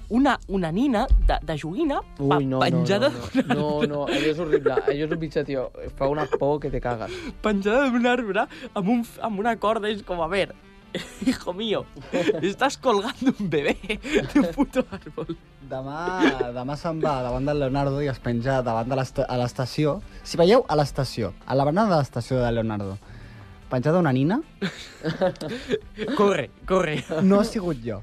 D: una, una nina de, de joguina pa,
J: Ui, no,
D: penjada
J: no,
D: d'un
J: no, no. No, no, allò és horrible. Allò és un bitxet, tio. Fa una por que te cagues.
D: penjada d'un arbre amb, un, f- amb una corda és com, a ver, hijo mío, estás colgando un bebé de un puto árbol.
H: Demà, demà se'n va davant del Leonardo i es penja davant de l'esta- a l'estació. Si veieu, a l'estació, a la banana de l'estació de Leonardo, penjada una nina,
D: Corre, corre.
H: no ha sigut jo.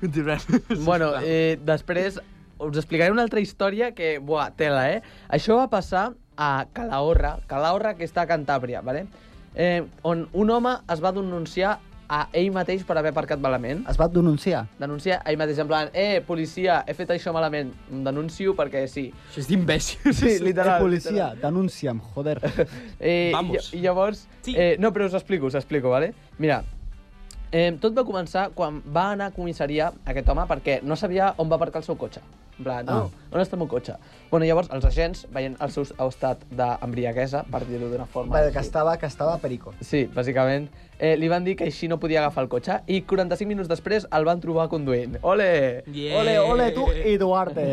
D: Continuem.
J: Bueno, eh, després us explicaré una altra història que, buah, tela, eh? Això va passar a Calahorra, Calahorra que està a Cantàbria, vale? Eh, on un home es va denunciar a ell mateix per haver aparcat malament.
H: Es va denunciar.
J: Denunciar a ell mateix, en plan, eh, policia, he fet això malament, em denuncio perquè sí.
D: Això és d'imbècil.
H: Eh, policia, denuncia'm, joder.
J: Eh,
D: Vamos.
J: I, I llavors...
D: Sí.
J: Eh, no, però us explico, us explico, vale? Mira, eh, tot va començar quan va anar a comissaria aquest home perquè no sabia on va aparcar el seu cotxe. En plan,
D: Ah.
J: no, on està el meu cotxe? Bueno, llavors els agents, veient el seu estat d'embriaguesa, per dir-ho d'una forma...
H: Vale,
J: així.
H: que estava, que estava perico.
J: Sí, bàsicament. Eh, li van dir que així no podia agafar el cotxe i 45 minuts després el van trobar conduint. Ole!
D: Yeah.
H: Ole, ole, tu i Duarte.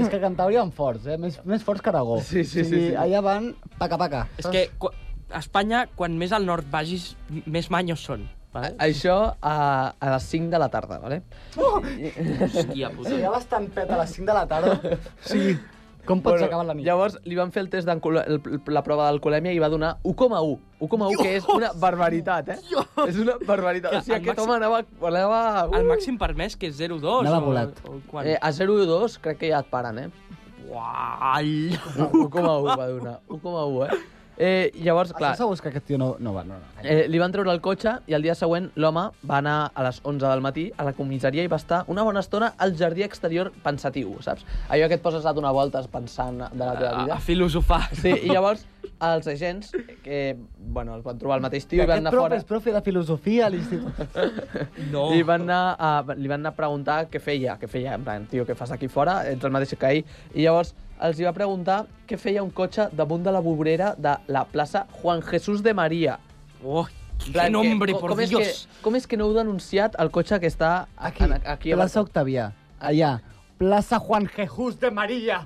H: És que Cantàbria van forts, eh? Més, més forts que Aragó.
J: Sí, sí,
H: O sigui,
J: sí, sí.
H: Allà van paca, paca.
D: És que qu- a Espanya, quan més al nord vagis, m- més manyos són. Vale?
J: Això a, a les 5 de la tarda, vale?
D: Hòstia puta.
H: Sí, ja vas tan pet a les 5 de la tarda. Sí. Com pots acabar la nit?
J: Llavors li van fer el test d'alcohol- el- la prova d'alcoholèmia i va donar 1,1. 1,1, que és una barbaritat, eh? És una barbaritat. O sigui,
D: Ja, el
J: aquest
D: màxim-
J: home anava... anava
D: El
J: uh,
D: màxim permès, que és 0,2.
H: Anava
D: o-
H: volat.
D: O, quan?
J: Eh,
D: Eh,
J: a 0 i 2 crec que ja et paren, eh?
D: Ual.
J: 1,1 va donar. 1,1, eh? Eh, llavors, clar,
H: Estàs segur que aquest tio no... No, va, no, no.
J: eh, li van treure el cotxe i el dia següent l'home va anar a les 11 del matí a la comissaria i va estar una bona estona al jardí exterior pensatiu, saps? Allò que et poses a donar voltes pensant de la teva
D: A,
J: vida.
D: a filosofar.
J: Sí, i llavors els agents, que, bueno, els van trobar el mateix tio
H: Tio,
J: i van
H: Aquest
J: anar
H: profe
J: fora.
H: és profe de filosofia a l'institut.
J: No. I van anar a, li van anar a preguntar què feia, què feia, en plan, tio, què fas aquí fora? Ets el mateix que ahir. I llavors els hi va preguntar què feia un cotxe damunt de la vorera de la plaça Juan Jesús de María.
D: Oh,
J: En
D: quin
J: que-
D: nombre,
J: co-
D: por
J: com és
D: Dios.
J: Que, com és que no heu denunciat el cotxe que està
H: Aquí,
J: en, aquí a
H: plaça Octavià. Allà. Plaça Juan Jesús de María.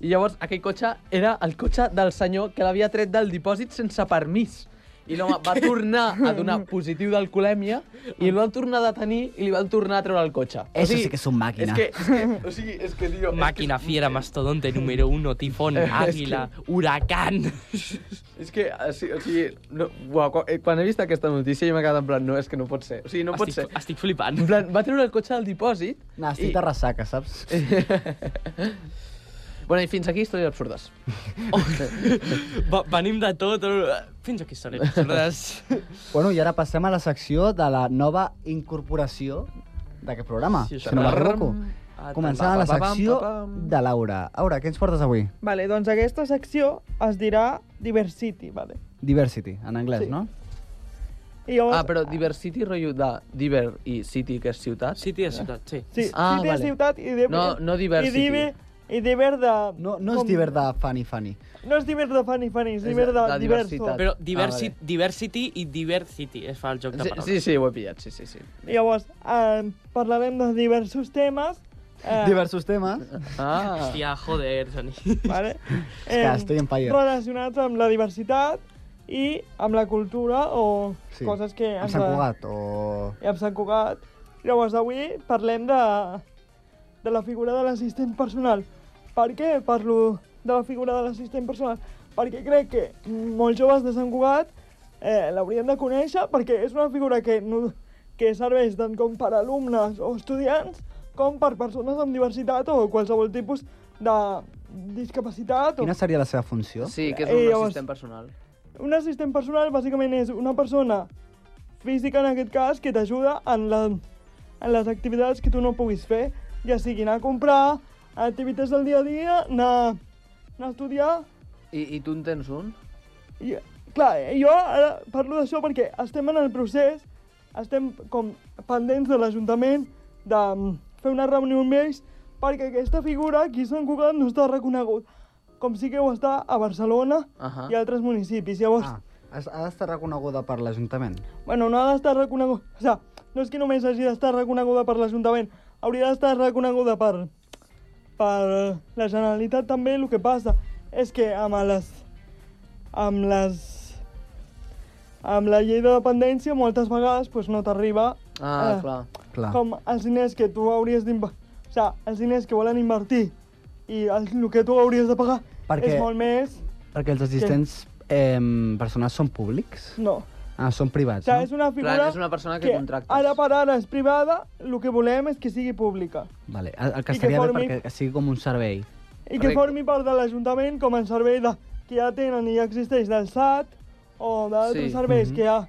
J: I llavors aquell cotxe era el cotxe del senyor que l'havia tret del dipòsit sense permís. I l'home va tornar a donar positiu d'alcoholèmia i el van tornar a detenir i li van tornar a treure el cotxe.
I: Eso sí que es un máquina.
J: És que, és que, o sigui, és que, tio...
D: Máquina fiera, mastodonte número uno, tifón,
J: Es que-
D: águila, huracán.
J: És que, o sigui, o sigui no, uau, quan, eh, quan he vist aquesta notícia jo m'he quedat en plan, no, és que no pot ser. O sigui, no pot
D: estic,
J: ser.
D: estic flipant.
J: En plan, va treure el cotxe del dipòsit...
H: Nastit de ressaca, saps?
J: Bueno, i fins aquí històries absurdes.
D: Va, venim de tot. eh, Fins aquí són absurdes.
H: Bueno, i ara passem a la secció de la nova incorporació d'aquest programa,
D: Sí,
H: sí, si no m'equivoco.
D: Ah,
H: Començant a la
J: pa-pa-pam,
H: secció
J: pa-pam.
H: de Laura. Laura, què ens portes avui?
K: Vale, doncs aquesta secció es dirà Diversity, vale?
H: Diversity, en anglès, sí. no?
K: I llavors,
J: Ah, però Diversity, rotllo de Diver i City, que és ciutat?
D: City de ciutat, sí.
K: Sí,
J: Ah,
K: ah, sí,
J: vale.
K: vale. ciutat i de...
J: No, no Diversity.
K: I diver, i diver de...
H: No, no és
K: com-
H: diver de Fanny Fanny.
K: No és diver de funny, funny, és
J: És
K: diver
J: de-
K: de,
J: de
K: diverso.
J: diversitat.
D: Però diversi
J: Ah, vale.
D: diversity i diversity es fa el joc de
J: Sí,
D: paraules.
J: sí, sí, ho he pillat, sí, sí. sí.
K: Llavors, eh, parlarem de diversos temes. Eh,
H: Diversos temes.
J: Ah,
D: Hòstia, joder, Soni.
K: vale?
H: És que estic en fire.
K: Relacionats amb la diversitat i amb la cultura o
H: Sí.
K: coses que... Eh,
H: Amb
K: ens
H: Sant
K: agraden.
H: Cugat, o...
K: i amb Sant Cugat. Llavors, avui parlem de, de la figura de l'assistent personal. Per què parlo de la figura de l'assistent personal? Perquè crec que molts joves de Sant Cugat eh, l'haurien de conèixer perquè és una figura que, no, que serveix tant com per alumnes o estudiants com per persones amb diversitat o qualsevol tipus de discapacitat. O...
H: Quina seria la seva funció?
J: sí, que és
K: Eh,
J: un
K: llavors-
J: assistent personal.
K: Un assistent personal bàsicament és una persona física en aquest cas que t'ajuda en, la, en les activitats que tu no puguis fer, ja sigui anar a comprar, activitats del dia a dia, anar, anar a estudiar...
J: I, I tu en tens un?
K: I, clar, jo ara parlo d'això perquè estem en el procés, estem com pendents de l'Ajuntament de mm, fer una reunió amb ells perquè aquesta figura aquí a Sant Cugat no està reconegut, com sí que ho està a Barcelona
J: Ahà.
K: i a altres municipis. Llavors,
H: Ah, has- ha d'estar reconeguda per l'Ajuntament.
K: Bueno, no ha d'estar reconeguda... O sigui, no és que només hagi d'estar reconeguda per l'Ajuntament, hauria d'estar reconeguda per, per la Generalitat també. El que passa és que amb les... amb les... amb la llei de dependència moltes vegades pues, no t'arriba
J: Ah,
K: Eh,
J: clar.
H: Clar.
K: com els diners que tu hauries d'invertir... O sigui, els diners que volen invertir i el, el que tu hauries de pagar
H: Perquè-
K: és molt més...
H: Perquè els assistents eh, personals són públics?
K: No.
H: Ah, són
K: O
H: privats,
K: sigui, Mm. és
H: no?
K: una
J: Clar,
K: figura...
J: és una persona que contractes.
K: Ara per ara és privada, el que volem és que sigui pública.
H: Vale. El, el
K: I que
H: que estaria bé
K: formi-
H: perquè sigui com un servei.
K: I que
J: Correcte.
K: formi part de l'Ajuntament com el servei de, que ja tenen i ja existeix del SAT o d'altres
J: Sí.
K: sí. serveis que ja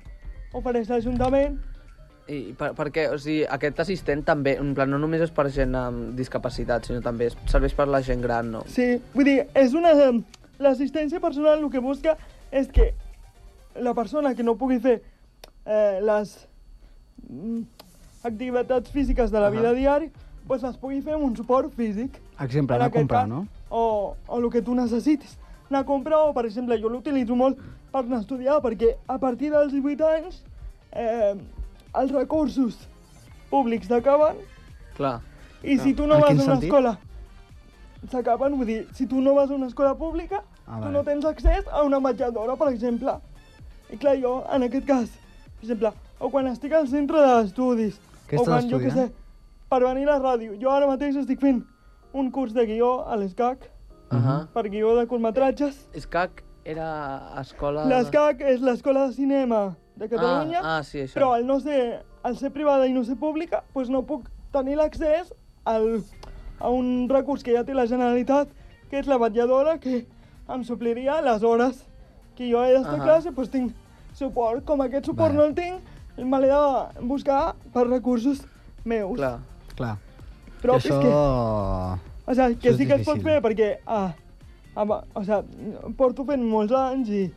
K: ofereix l'Ajuntament.
J: I per, perquè, o sigui, aquest assistent també, en plan, no només és per gent amb discapacitat, sinó també és- serveix per la gent gran, no?
K: Sí, vull dir, és una... eh, L'assistència personal el que busca és que la persona que no pugui fer eh, les mm, activitats físiques de la vida diària pues les pugui fer amb un suport físic.
H: Exemple,
K: En
H: anar a
K: aquest
H: comprar,
K: cas,
H: no?
K: O, o el que tu necessitis. Anar a comprar, o per exemple, jo l'utilitzo molt per anar a estudiar, perquè a partir dels 18 anys eh, els recursos públics s'acaben
J: Clar.
K: i si tu no
H: Ah, En
K: vas a
H: quin
K: una
H: sentit?
K: escola s'acaben, vull dir, si tu no vas a una escola pública,
H: Ah,
K: tu
H: vale.
K: no tens accés a una menjadora, per exemple. I clar, jo, en aquest cas, per exemple, o quan estic al centre d'estudis,
H: Què
K: o
H: estàs
K: quan, jo què sé,
H: estudiant?
K: per venir a la ràdio. Jo ara mateix estic fent un curs de guió a l'ESCAC,
H: Ah.
J: Ahà.
K: per guió de curtmetratges.
J: Escac era escola...
K: L'ESCAC és l'Escola de Cinema de Catalunya,
J: Ah, ah, sí, això.
K: però al no ser, al ser privada i no ser pública, doncs no puc tenir l'accés al- a un recurs que ja té la Generalitat, que és la vetlladora, que em supliria les hores que jo he d'estar a
J: Ahà.
K: classe, doncs tinc suport. Com aquest suport
H: Vale.
K: no el tinc, me l'he de buscar per recursos meus.
J: Clar.
H: Clar.
K: Però
H: I això...
K: és que... O sigui,
H: Això
K: que
H: és
K: sí que es pot
H: difícil.
K: fer perquè a, Aba- ah, O sigui, porto fent molts anys i...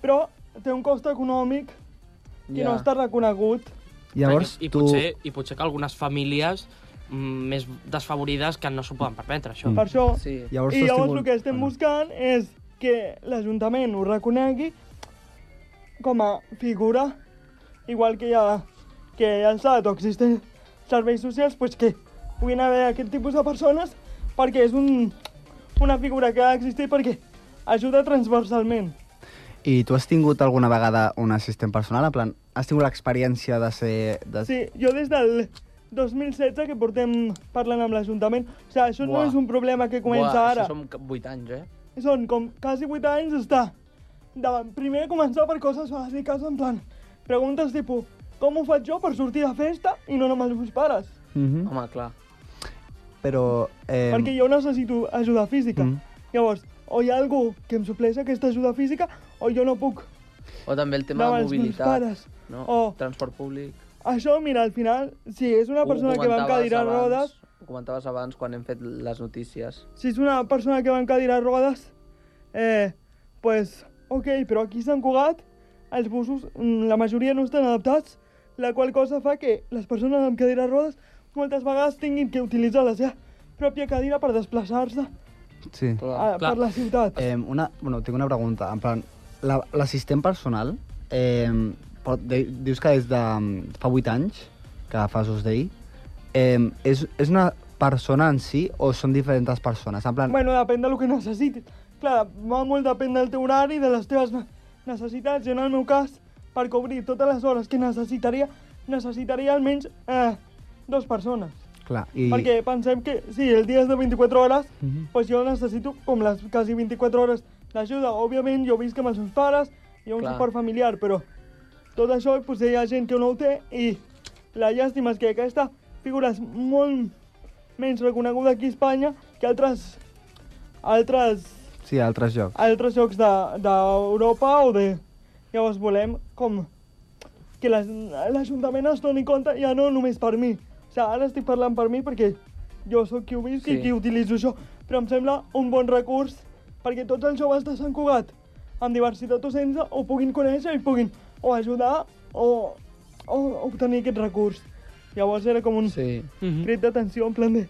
K: Però té un cost econòmic que
D: Ja.
K: no està reconegut.
H: Llavors,
D: I, i,
H: tu-
D: potser, I potser que algunes famílies mm, més desfavorides que no s'ho poden permetre,
J: Mm.
D: això.
K: Per això,
H: Llavors
K: i llavors
H: s'estimula-
K: el que estem buscant és que l'Ajuntament ho reconegui com a figura, igual que hi ha, que hi ha el SAT o existen serveis socials, pues que puguin haver aquest tipus de persones perquè és un, una figura que ha d'existir perquè ajuda transversalment.
H: I tu has tingut alguna vegada un assistent personal? En plan, has tingut l'experiència de ser... De...
K: Sí, jo des del 2016 que portem parlant amb l'Ajuntament, o sigui, això
J: Buah.
K: no és un problema que comença
J: Buah,
K: ara.
J: Això som 8 anys, eh?
K: són com quasi 8 anys està davant. Primer començar per coses bàsiques, en plan, preguntes tipus, com ho faig jo per sortir de festa i no només els meus pares?
H: Mm
J: Home, clar.
H: Però... Eh...
K: Perquè jo necessito ajuda física.
J: Mm.
K: Llavors, o hi ha algú que em supleix aquesta ajuda física o jo no puc.
J: O també el tema
K: Davant
J: de
K: els meus
J: mobilitat.
K: pares. Oh.
J: No?
K: O-
J: Transport públic.
K: Això, mira, al final, si és una
J: Ho
K: persona que va amb
J: comentaves
K: cadira de
J: abans-
K: rodes,
J: Ho comentaves abans quan hem fet les notícies.
K: si és una persona que va en cadira de rodes, eh, pues, ok, però aquí a Sant Cugat els busos, mm, la majoria no estan adaptats, la qual cosa fa que les persones amb cadira de rodes moltes vegades tinguin que utilitzar la seva pròpia cadira per desplaçar-se
H: Sí.
K: a- per la ciutat.
H: Eh, una, bueno, tinc una pregunta. En plan, la- l'assistent la, personal, eh, pot, de, dius que des de mm, fa 8 anys, que fas ús d'ell, eh, és, és una persona en si o són diferents persones? En plan,
K: Bueno, depèn del que necessitis. Clar, va molt depèn del teu horari, de les teves ne- necessitats. Jo, en el meu cas, per cobrir totes les hores que necessitaria, necessitaria almenys eh, dos persones.
H: clar,
K: I...
H: i...
K: Perquè pensem que, sí, el dia és de 24 hores, pues jo necessito com les quasi 24 hores d'ajuda. Òbviament, jo visc amb els meus pares, hi ha un
J: Clar.
K: suport familiar, però tot això pues, hi ha gent que no ho té i la llàstima és que aquesta figura és molt menys reconeguda aquí a Espanya que altres altres,
H: Sí, a altres llocs.
K: altres llocs de- d'Europa o de... Llavors volem com que les- l'Ajuntament es doni compte ja no només per mi. O sigui, ara estic parlant per mi perquè jo sóc qui ho visc sí.
J: Sí.
K: i qui utilitzo això, però em sembla un bon recurs perquè tots els joves de Sant Cugat amb diversitat docents ho puguin conèixer i puguin o ajudar o, o obtenir aquest recurs. Llavors era com un
J: sí.
K: crit d'atenció en plan de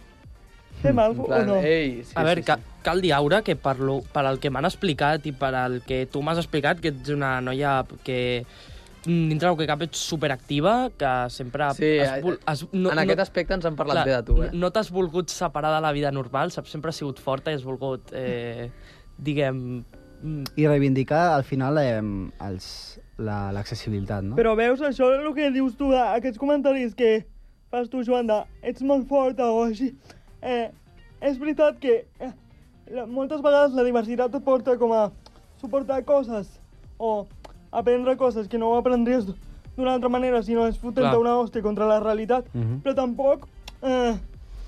K: fem alguna cosa o no.
J: sí,
D: a veure, sí, sí. cal dir, Aura, que per, lo, per el que m'han explicat i per el que tu m'has explicat, que ets una noia que mm, dintre del que cap ets superactiva, que sempre...
J: Sí,
D: vol-
J: en aquest aspecte ens han parlat bé de tu, eh?
D: No t'has volgut separar de la vida normal, saps? Sempre has sigut forta i has volgut, eh, diguem... mm,
H: I reivindicar, al final, eh, els- la- l'accessibilitat, la, no?
K: Però veus, això el que dius tu, aquests comentaris que fas tu, Joan, de ets molt forta o així, eh, és veritat que eh, la, moltes vegades la diversitat et porta com a suportar coses o aprendre coses que no aprendries d'una altra manera si no és fotent
D: Clar.
K: una hòstia contra la realitat,
H: Mhm.
K: però tampoc eh,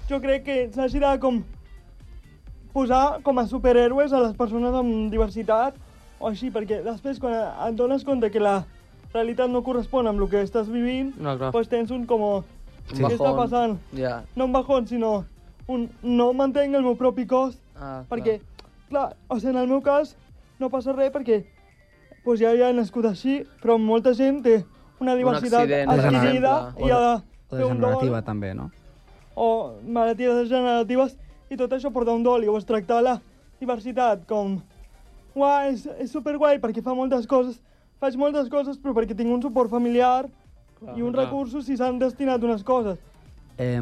K: jo crec que s'hagi de com posar com a superhéroes a les persones amb diversitat o així, perquè després quan et dones compte que la realitat no correspon amb el que estàs vivint,
D: No, clar.
K: doncs tens un com...
J: Un
K: Sí. Què està
J: bajón.
K: passant?
J: Ja.
K: No un bajón, sinó un no mantenc el meu propi cos,
J: Ah,
K: perquè, clar, o sigui, en el meu cas no passa res perquè doncs ja, ja he nascut així, però molta gent té una diversitat
J: accident, per
K: adquirida
J: exemple.
K: i ha de
H: O
K: fer un dol
H: degenerativa, també, no?
K: o malalties degeneratives i tot això porta un dol. Llavors tractar la diversitat com... Uah, és, és superguai perquè fa moltes coses, faig moltes coses però perquè tinc un suport familiar i uns
D: clar.
K: recursos si s'han destinat unes coses.
H: Eh,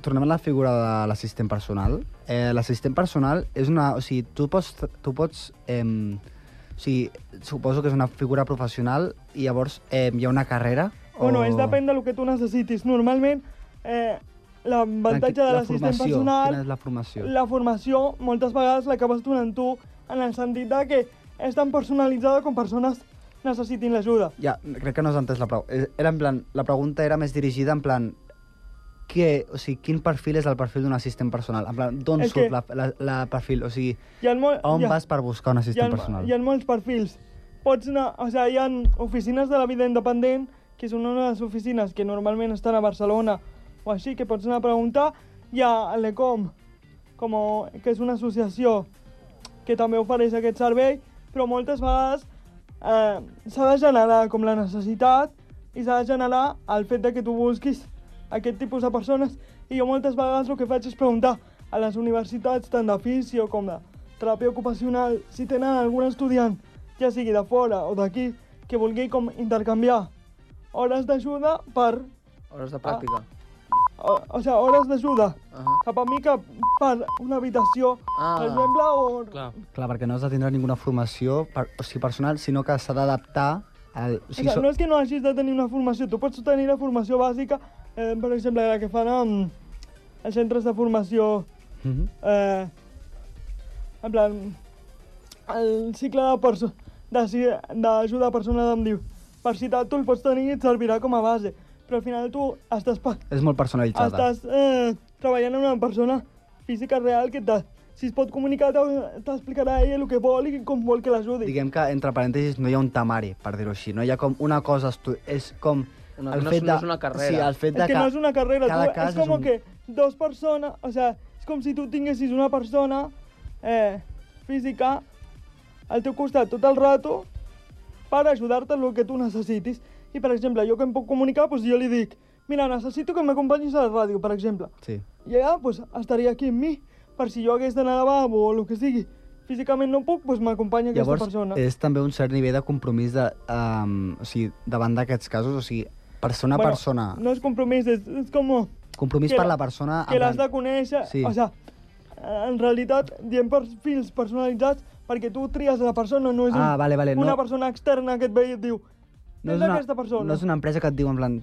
H: tornem a la figura de l'assistent personal. Eh, l'assistent personal és una... O sigui, tu pots... Tu pots eh, o sigui, suposo que és una figura professional i llavors eh, hi ha una carrera? O...
K: Bueno, és depèn del que tu necessitis. Normalment, eh, l'avantatge de
H: La
K: l'assistent
H: formació,
K: personal...
H: Quina és la formació?
K: La formació moltes vegades l'acabes donant tu en el sentit de que és tan personalitzada com persones necessitin l'ajuda.
H: Ja, crec que no has entès la pregunta. Era en plan, la pregunta era més dirigida en plan... Què, o sigui, quin perfil és el perfil d'un assistent personal? En plan, d'on
K: És
H: surt
K: que-
H: la, la, la perfil? O sigui,
K: Hi ha molt,
H: a on
K: hi ha-
H: vas per buscar un assistent
K: hi ha,
H: personal?
K: Hi ha molts perfils. Pots anar, o sigui, hi ha oficines de la vida independent, que són una de les oficines que normalment estan a Barcelona o així, que pots anar a preguntar. Hi ha l'ECOM, com, que és una associació que també ofereix aquest servei, però moltes vegades eh, s'ha de generar com la necessitat i s'ha de generar el fet de que tu busquis aquest tipus de persones i jo moltes vegades el que faig és preguntar a les universitats tant de fisio com de teràpia ocupacional si tenen algun estudiant, ja sigui de fora o d'aquí, que vulgui com intercanviar hores d'ajuda per...
J: Hores de pràctica.
K: Ah, O, o sigui, hores d'ajuda uh -huh. cap a mica per una habitació, ah. per exemple, o...
H: Clar. Clar, perquè no has de tindre ninguna formació per, o sigui, personal, sinó que s'ha d'adaptar al... O
K: Sí, o
H: sigui,
K: sigui, no és que no hagis de tenir una formació, tu pots tenir la formació bàsica, eh, per exemple, la que fan en, en centres de formació,
H: Mhm.
K: eh, en plan, el cicle de perso- de ci- d'ajuda a persones amb diu, per citar tu el pots tenir i et servirà com a base, però al final tu estàs, pa-
H: és molt personalitzada.
K: estàs eh, treballant amb una persona física real que te, si es pot comunicar t'ho- t'explicarà ella el que vol i com vol que l'ajudi.
H: Diguem que, entre parèntesis, no hi ha un tamari, per dir-ho així. No hi ha com una cosa... Estu... És com...
J: Una- no és- no és una carrera.
H: Sí, el fet
K: Es
H: de
K: que no es una carrera,
H: cada
K: tú- es
H: cas és
K: como
H: un-
K: que dos personas, o sea, es como si tú tinguessis una persona eh, física al teu costat tot el rato per ajudar-te en el que tu necessitis. I, per exemple, jo que em puc comunicar, doncs jo li dic, mira, necessito que m'acompanyis a la ràdio, per exemple.
H: Sí.
K: I ella doncs, estaria aquí amb mi, per si jo hagués d'anar a lavabo o el que sigui. Físicament no puc, doncs m'acompanya aquesta
H: Llavors,
K: persona.
H: és també un cert nivell de compromís de, um, o sigui, davant d'aquests casos, o sigui, persona a
K: Bueno,
H: persona.
K: No és compromís, és, és com...
H: Compromís
K: que
H: per la persona, en
K: Que l'has de
H: plan-
K: conèixer.
H: Sí.
K: Sí. O sigui, en realitat, diem perfils personalitzats perquè tu tries la persona, no és
H: Ah,
K: un,
H: vale, vale,
K: una
H: no.
K: persona externa que et ve i et diu no és aquesta persona.
H: no és una empresa que et diu en plan,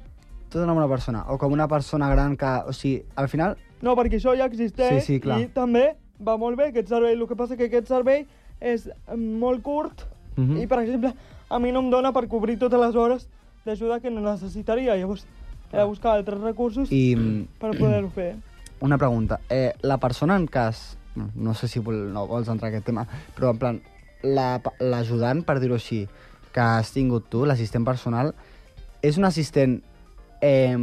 H: tu donem una persona, o com una persona gran que, o sigui, al final,
K: No, perquè això ja existeix
H: Sí, sí, clar.
K: i també va molt bé aquest servei. El que passa que aquest servei és eh, molt curt
H: Mhm.
K: i, per exemple, a mi no em dona per cobrir totes les hores d'ajuda que no necessitaria. Llavors, he de buscar altres recursos
H: I- mm,
K: per poder-ho fer.
H: una pregunta. Eh, la persona en cas, no sé si vol, no vols entrar en aquest tema, però en plan, la pa- l'ajudant, la, per dir-ho així, que has tingut tu, l'assistent personal, és un assistent eh,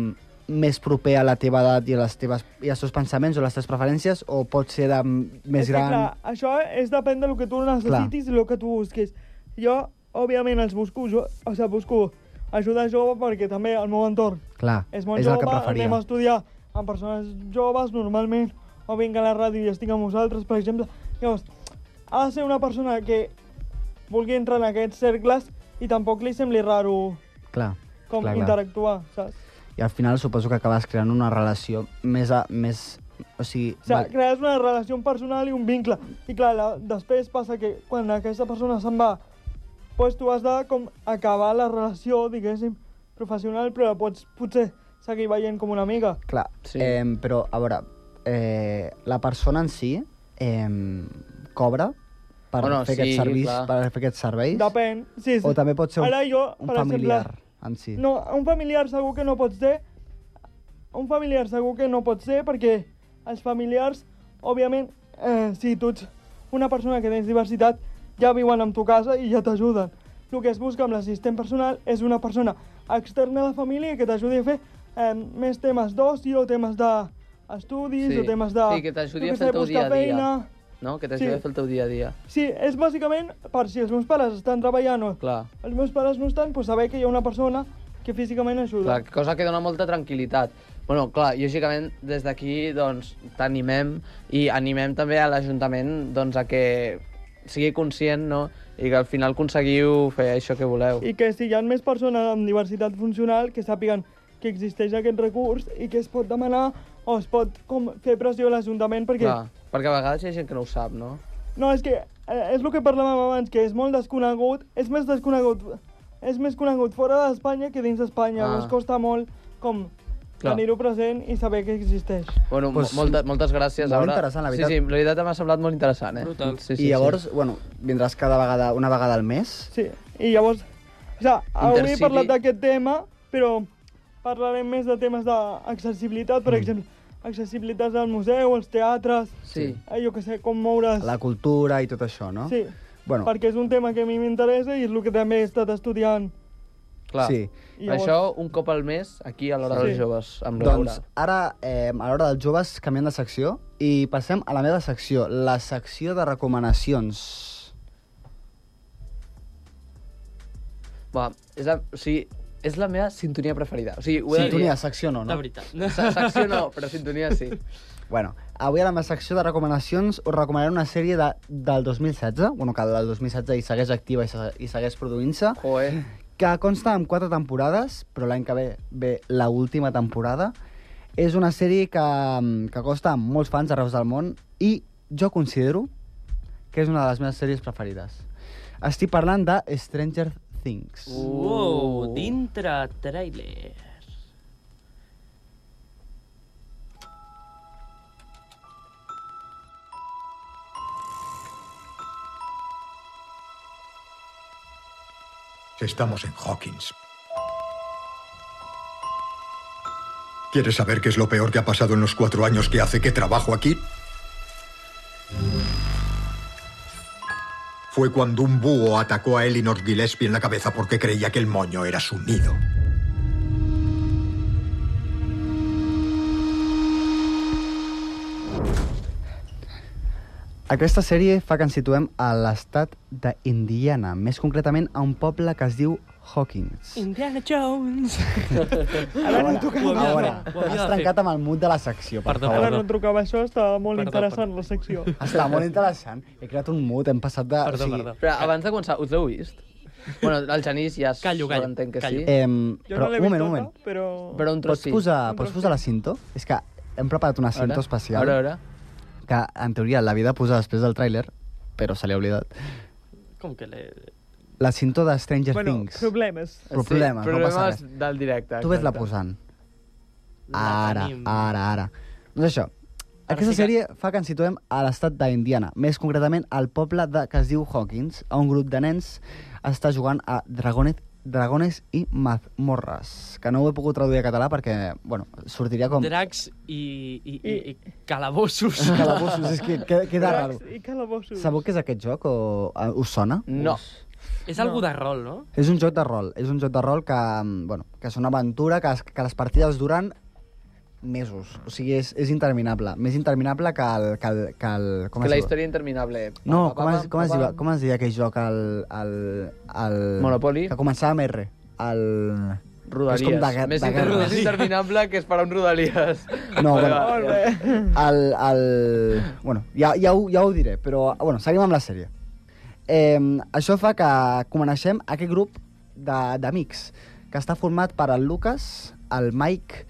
H: més proper a la teva edat i, a les teves, i als teus pensaments o les teves preferències, o pot ser de m- més
K: és
H: gran...
K: Que, clar, això és depèn del que tu necessitis i el que tu busquis. Jo, òbviament, els busco, jo, o sigui, busco ajuda jove perquè també el meu entorn
H: Clar,
K: és molt
H: és el
K: jove,
H: que preferia.
K: anem a estudiar amb persones joves normalment, o vinc a la ràdio i estic amb vosaltres, per exemple. Llavors, ha de ser una persona que vulgui entrar en aquests cercles i tampoc li sembli raro
H: Clar,
K: com
H: clar, clar.
K: interactuar, saps?
H: I al final suposo que acabes creant una relació més... A, més o sigui,
K: O sigui,
H: val-
K: crees una relació personal i un vincle. I clar, la, després passa que quan aquesta persona se'n va, doncs tu has de com acabar la relació, diguéssim, professional, però la pots potser seguir veient com una amiga.
H: Clar, sí. eh, però a veure, eh, la persona en si eh, cobra per,
K: Bueno,
H: fer
K: sí,
H: aquests serveis,
K: clar.
H: per fer aquests serveis?
K: Depèn, sí, sí.
H: O també pot ser un,
K: Ara jo,
H: un
K: per
H: familiar
K: exemple,
H: en si?
K: No, un familiar segur que no pot ser. Un familiar segur que no pot ser perquè els familiars, òbviament, eh, si tu ets una persona que tens diversitat, ja viuen amb tu a casa i ja t'ajuden. El que es busca amb l'assistent personal és una persona externa a la família que t'ajudi a fer eh, més temes d'oci o temes d'estudis
J: Sí.
K: o temes de...
J: Sí, que t'ajudi
K: jo
J: a
K: què
J: fer el
K: sé,
J: teu dia
K: buscar
J: a dia.
K: feina.
J: No? Que t'ajudi
K: Sí.
J: a fer el teu dia a dia.
K: Sí, és bàsicament per si els meus pares estan treballant o
J: Clar.
K: els meus pares no estan, doncs saber que hi ha una persona que físicament ajuda.
J: Clar, cosa que dona molta tranquil·litat. Bueno, clar, lògicament, des d'aquí, doncs, t'animem i animem també a l'Ajuntament, doncs, a que sigui conscient, no?, i que al final aconseguiu fer això que voleu.
K: I que si hi ha més persones amb diversitat funcional que sàpiguen que existeix aquest recurs i que es pot demanar o es pot com, fer pressió a l'Ajuntament perquè...
J: Clar, perquè a vegades hi ha gent que no ho sap, no?
K: No, és que eh, és el que parlàvem abans, que és molt desconegut, és més desconegut, és més conegut fora d'Espanya que dins d'Espanya.
J: Ah.
K: Ah. Llavors costa molt com
J: Clar.
K: tenir-ho present i saber que existeix.
J: Bueno,
H: Pues,
J: pues, molta, moltes gràcies.
H: molt
J: Aura.
H: interessant, la veritat.
J: Sí, sí, la veritat m'ha semblat molt interessant, eh?
K: Brutal.
J: Sí,
H: I llavors, bueno, vindràs cada vegada, una vegada al mes?
K: Sí, i llavors... O sigui, avui
H: Intercity.
K: he parlat d'aquest tema, però parlarem més de temes d'accessibilitat, per mm. exemple, accessibilitat al museu, als teatres,
H: Sí.
K: eh, jo que sé, com moure's...
H: La cultura i tot això, no?
K: Sí,
H: Bueno,
K: perquè és un tema que a mi m'interessa i és el que també he estat estudiant
J: Clar.
H: Sí.
J: I llavors... Això un cop al mes, aquí a l'hora sí. dels joves, amb la
H: Doncs ara, eh, a l'hora dels joves, canviem de secció i passem a la meva secció, la secció de recomanacions.
J: Va, és la, o sigui, és la meva sintonia preferida. O sigui, ho he de dir.
H: Sintonia, secció no,
J: De
H: no?
J: veritat. Se- Secció no, però sintonia sí.
H: Bueno, avui a la meva secció de recomanacions us recomanaré una sèrie de, del 2016, bueno, que del 2016 i segueix activa i, se, i segueix produint-se,
J: Joder.
H: que consta en quatre temporades, però l'any que ve ve la última temporada. És una sèrie que, que costa a molts fans arreu del món i jo considero que és una de les meves sèries preferides. Estic parlant de Stranger Things.
D: Uh, dintre trailer.
L: Estamos en Hawkins. ¿Quieres saber qué es lo peor que ha pasado en los cuatro años que hace que trabajo aquí? Fue cuando un búho atacó a Elinor Gillespie en la cabeza porque creía que el moño era su nido.
H: Aquesta sèrie fa que ens situem a l'estat d'Indiana, més concretament a un poble que es diu Hawkins.
D: Indiana Jones.
K: A veure, no
D: Ho havia de
K: tocava,
D: fer,
H: Ara,
D: ho havia de
H: has
D: fer.
H: trencat amb el mood de la secció, per
D: Perdó,
K: a
H: favor.
K: veure, no trucava això, estava molt
D: Perdó,
K: interessant la secció.
H: Està molt interessant. He creat un mood, hem passat de...
D: Perdó, perdó.
J: Però abans de començar, us l'heu vist? Bueno, el Genís ja
D: Callo, callo,
J: entenc que
D: callo.
J: sí.
H: Em,
K: Jo
H: però,
K: no l'he
H: un
K: vist
H: moment,
K: tota,
H: un moment.
K: però...
J: Però un tros
H: Eh, Pots
J: sí.
H: posar,
K: Un
H: pots
K: trosset.
H: posar la cinto? És que hem preparat una cinta
J: Ara?
H: especial
J: Ara, ara.
H: que, en teoria, l'havia de posar després del tràiler, però se li ha oblidat.
D: Com que le...
H: La cinto de Stranger
K: Bueno,
H: Things.
K: problemes.
H: Problemes, no passa
J: problemes
H: res.
J: del directe.
H: Tu vés-la
J: exacte.
H: posant.
D: La
H: Ara,
D: tenim.
H: ara, ara. Doncs això. Aquesta
D: sí que-
H: sèrie fa que ens situem a l'estat d'Indiana, més concretament al poble de, que es diu Hawkins, on un grup de nens està jugant a Dragonet, Dragones i Mazmorras, que no ho he pogut traduir a català perquè, bueno, sortiria com...
D: Dracs i, i, i, i calabossos.
H: Calabossos, és que que- queda raro.
K: Dracs I calabossos.
H: Sabeu què és aquest joc o eh, us sona?
J: No.
D: És algú de rol, no?
H: És un joc de rol, és un joc de rol que, mm, bueno, que és una aventura, que, es- que les partides duren mesos. O sigui, és, és interminable. Més interminable que el... Que, el, que, el, com
J: Que
H: es
J: la
H: diu?
J: història interminable.
H: No,
J: Pam,
H: com
J: pam,
H: es, com es,
J: pam,
H: diu,
J: pam.
H: com es deia aquell joc? El, el, el...
J: Monopoly?
H: Que començava amb R. El...
J: Rodalies.
H: És com de, gue-
J: més,
H: de
J: inter
H: guerra.
J: més interminable que esperar un Rodalies.
H: No,
J: Vale,
H: bueno.
J: va,
K: Molt
J: ja.
K: bé.
H: El, el... Bueno, ja, ja, ho, ja ho diré, però bueno, seguim amb la sèrie. Eh, això fa que coneixem aquest grup de- d'amics que està format per el Lucas, el Mike,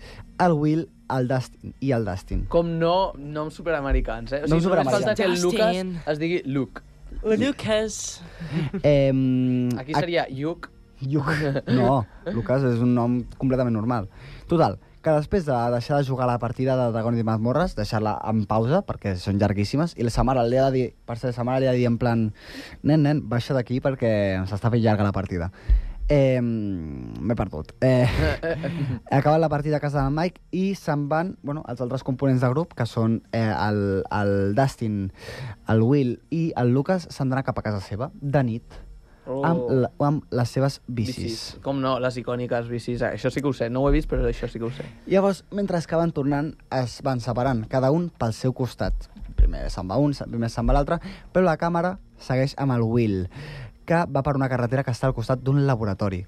H: el Will, el Dustin i el Dustin.
J: Com no, noms superamericans, eh? O
H: Noms
J: sigui, només falta
H: superamericans.
J: que el
D: Justin.
J: Lucas es digui Luke.
D: Lucas.
H: Eh,
J: Aquí seria Yuk.
H: Luke. No, Lucas és un nom completament normal. Total, que després de deixar de jugar la partida de Dragons i Mazmorres, deixar-la en pausa, perquè són llarguíssimes, i la sa mare li ha de dir, per ser sa mare li ha de dir en plan, nen, nen, baixa d'aquí perquè s'està fent llarga la partida. Eh, M'he perdut. Eh, acaben la partida a casa del Mike i se'n van bueno, els altres components de grup, que són eh, el, el Dustin, el Will i el Lucas, se'n d'anar cap a casa seva, de nit,
J: Oh.
H: amb, la, amb les seves bicis. bicis.
J: Com no, les icòniques bicis. Això sí que ho sé. No ho he vist, però això sí que ho sé.
H: Llavors, mentre que van tornant, es van separant, cada un pel seu costat. Primer se'n va un, se- primer se'n va l'altre, però la càmera segueix amb el Will, que va per una carretera que està al costat d'un laboratori.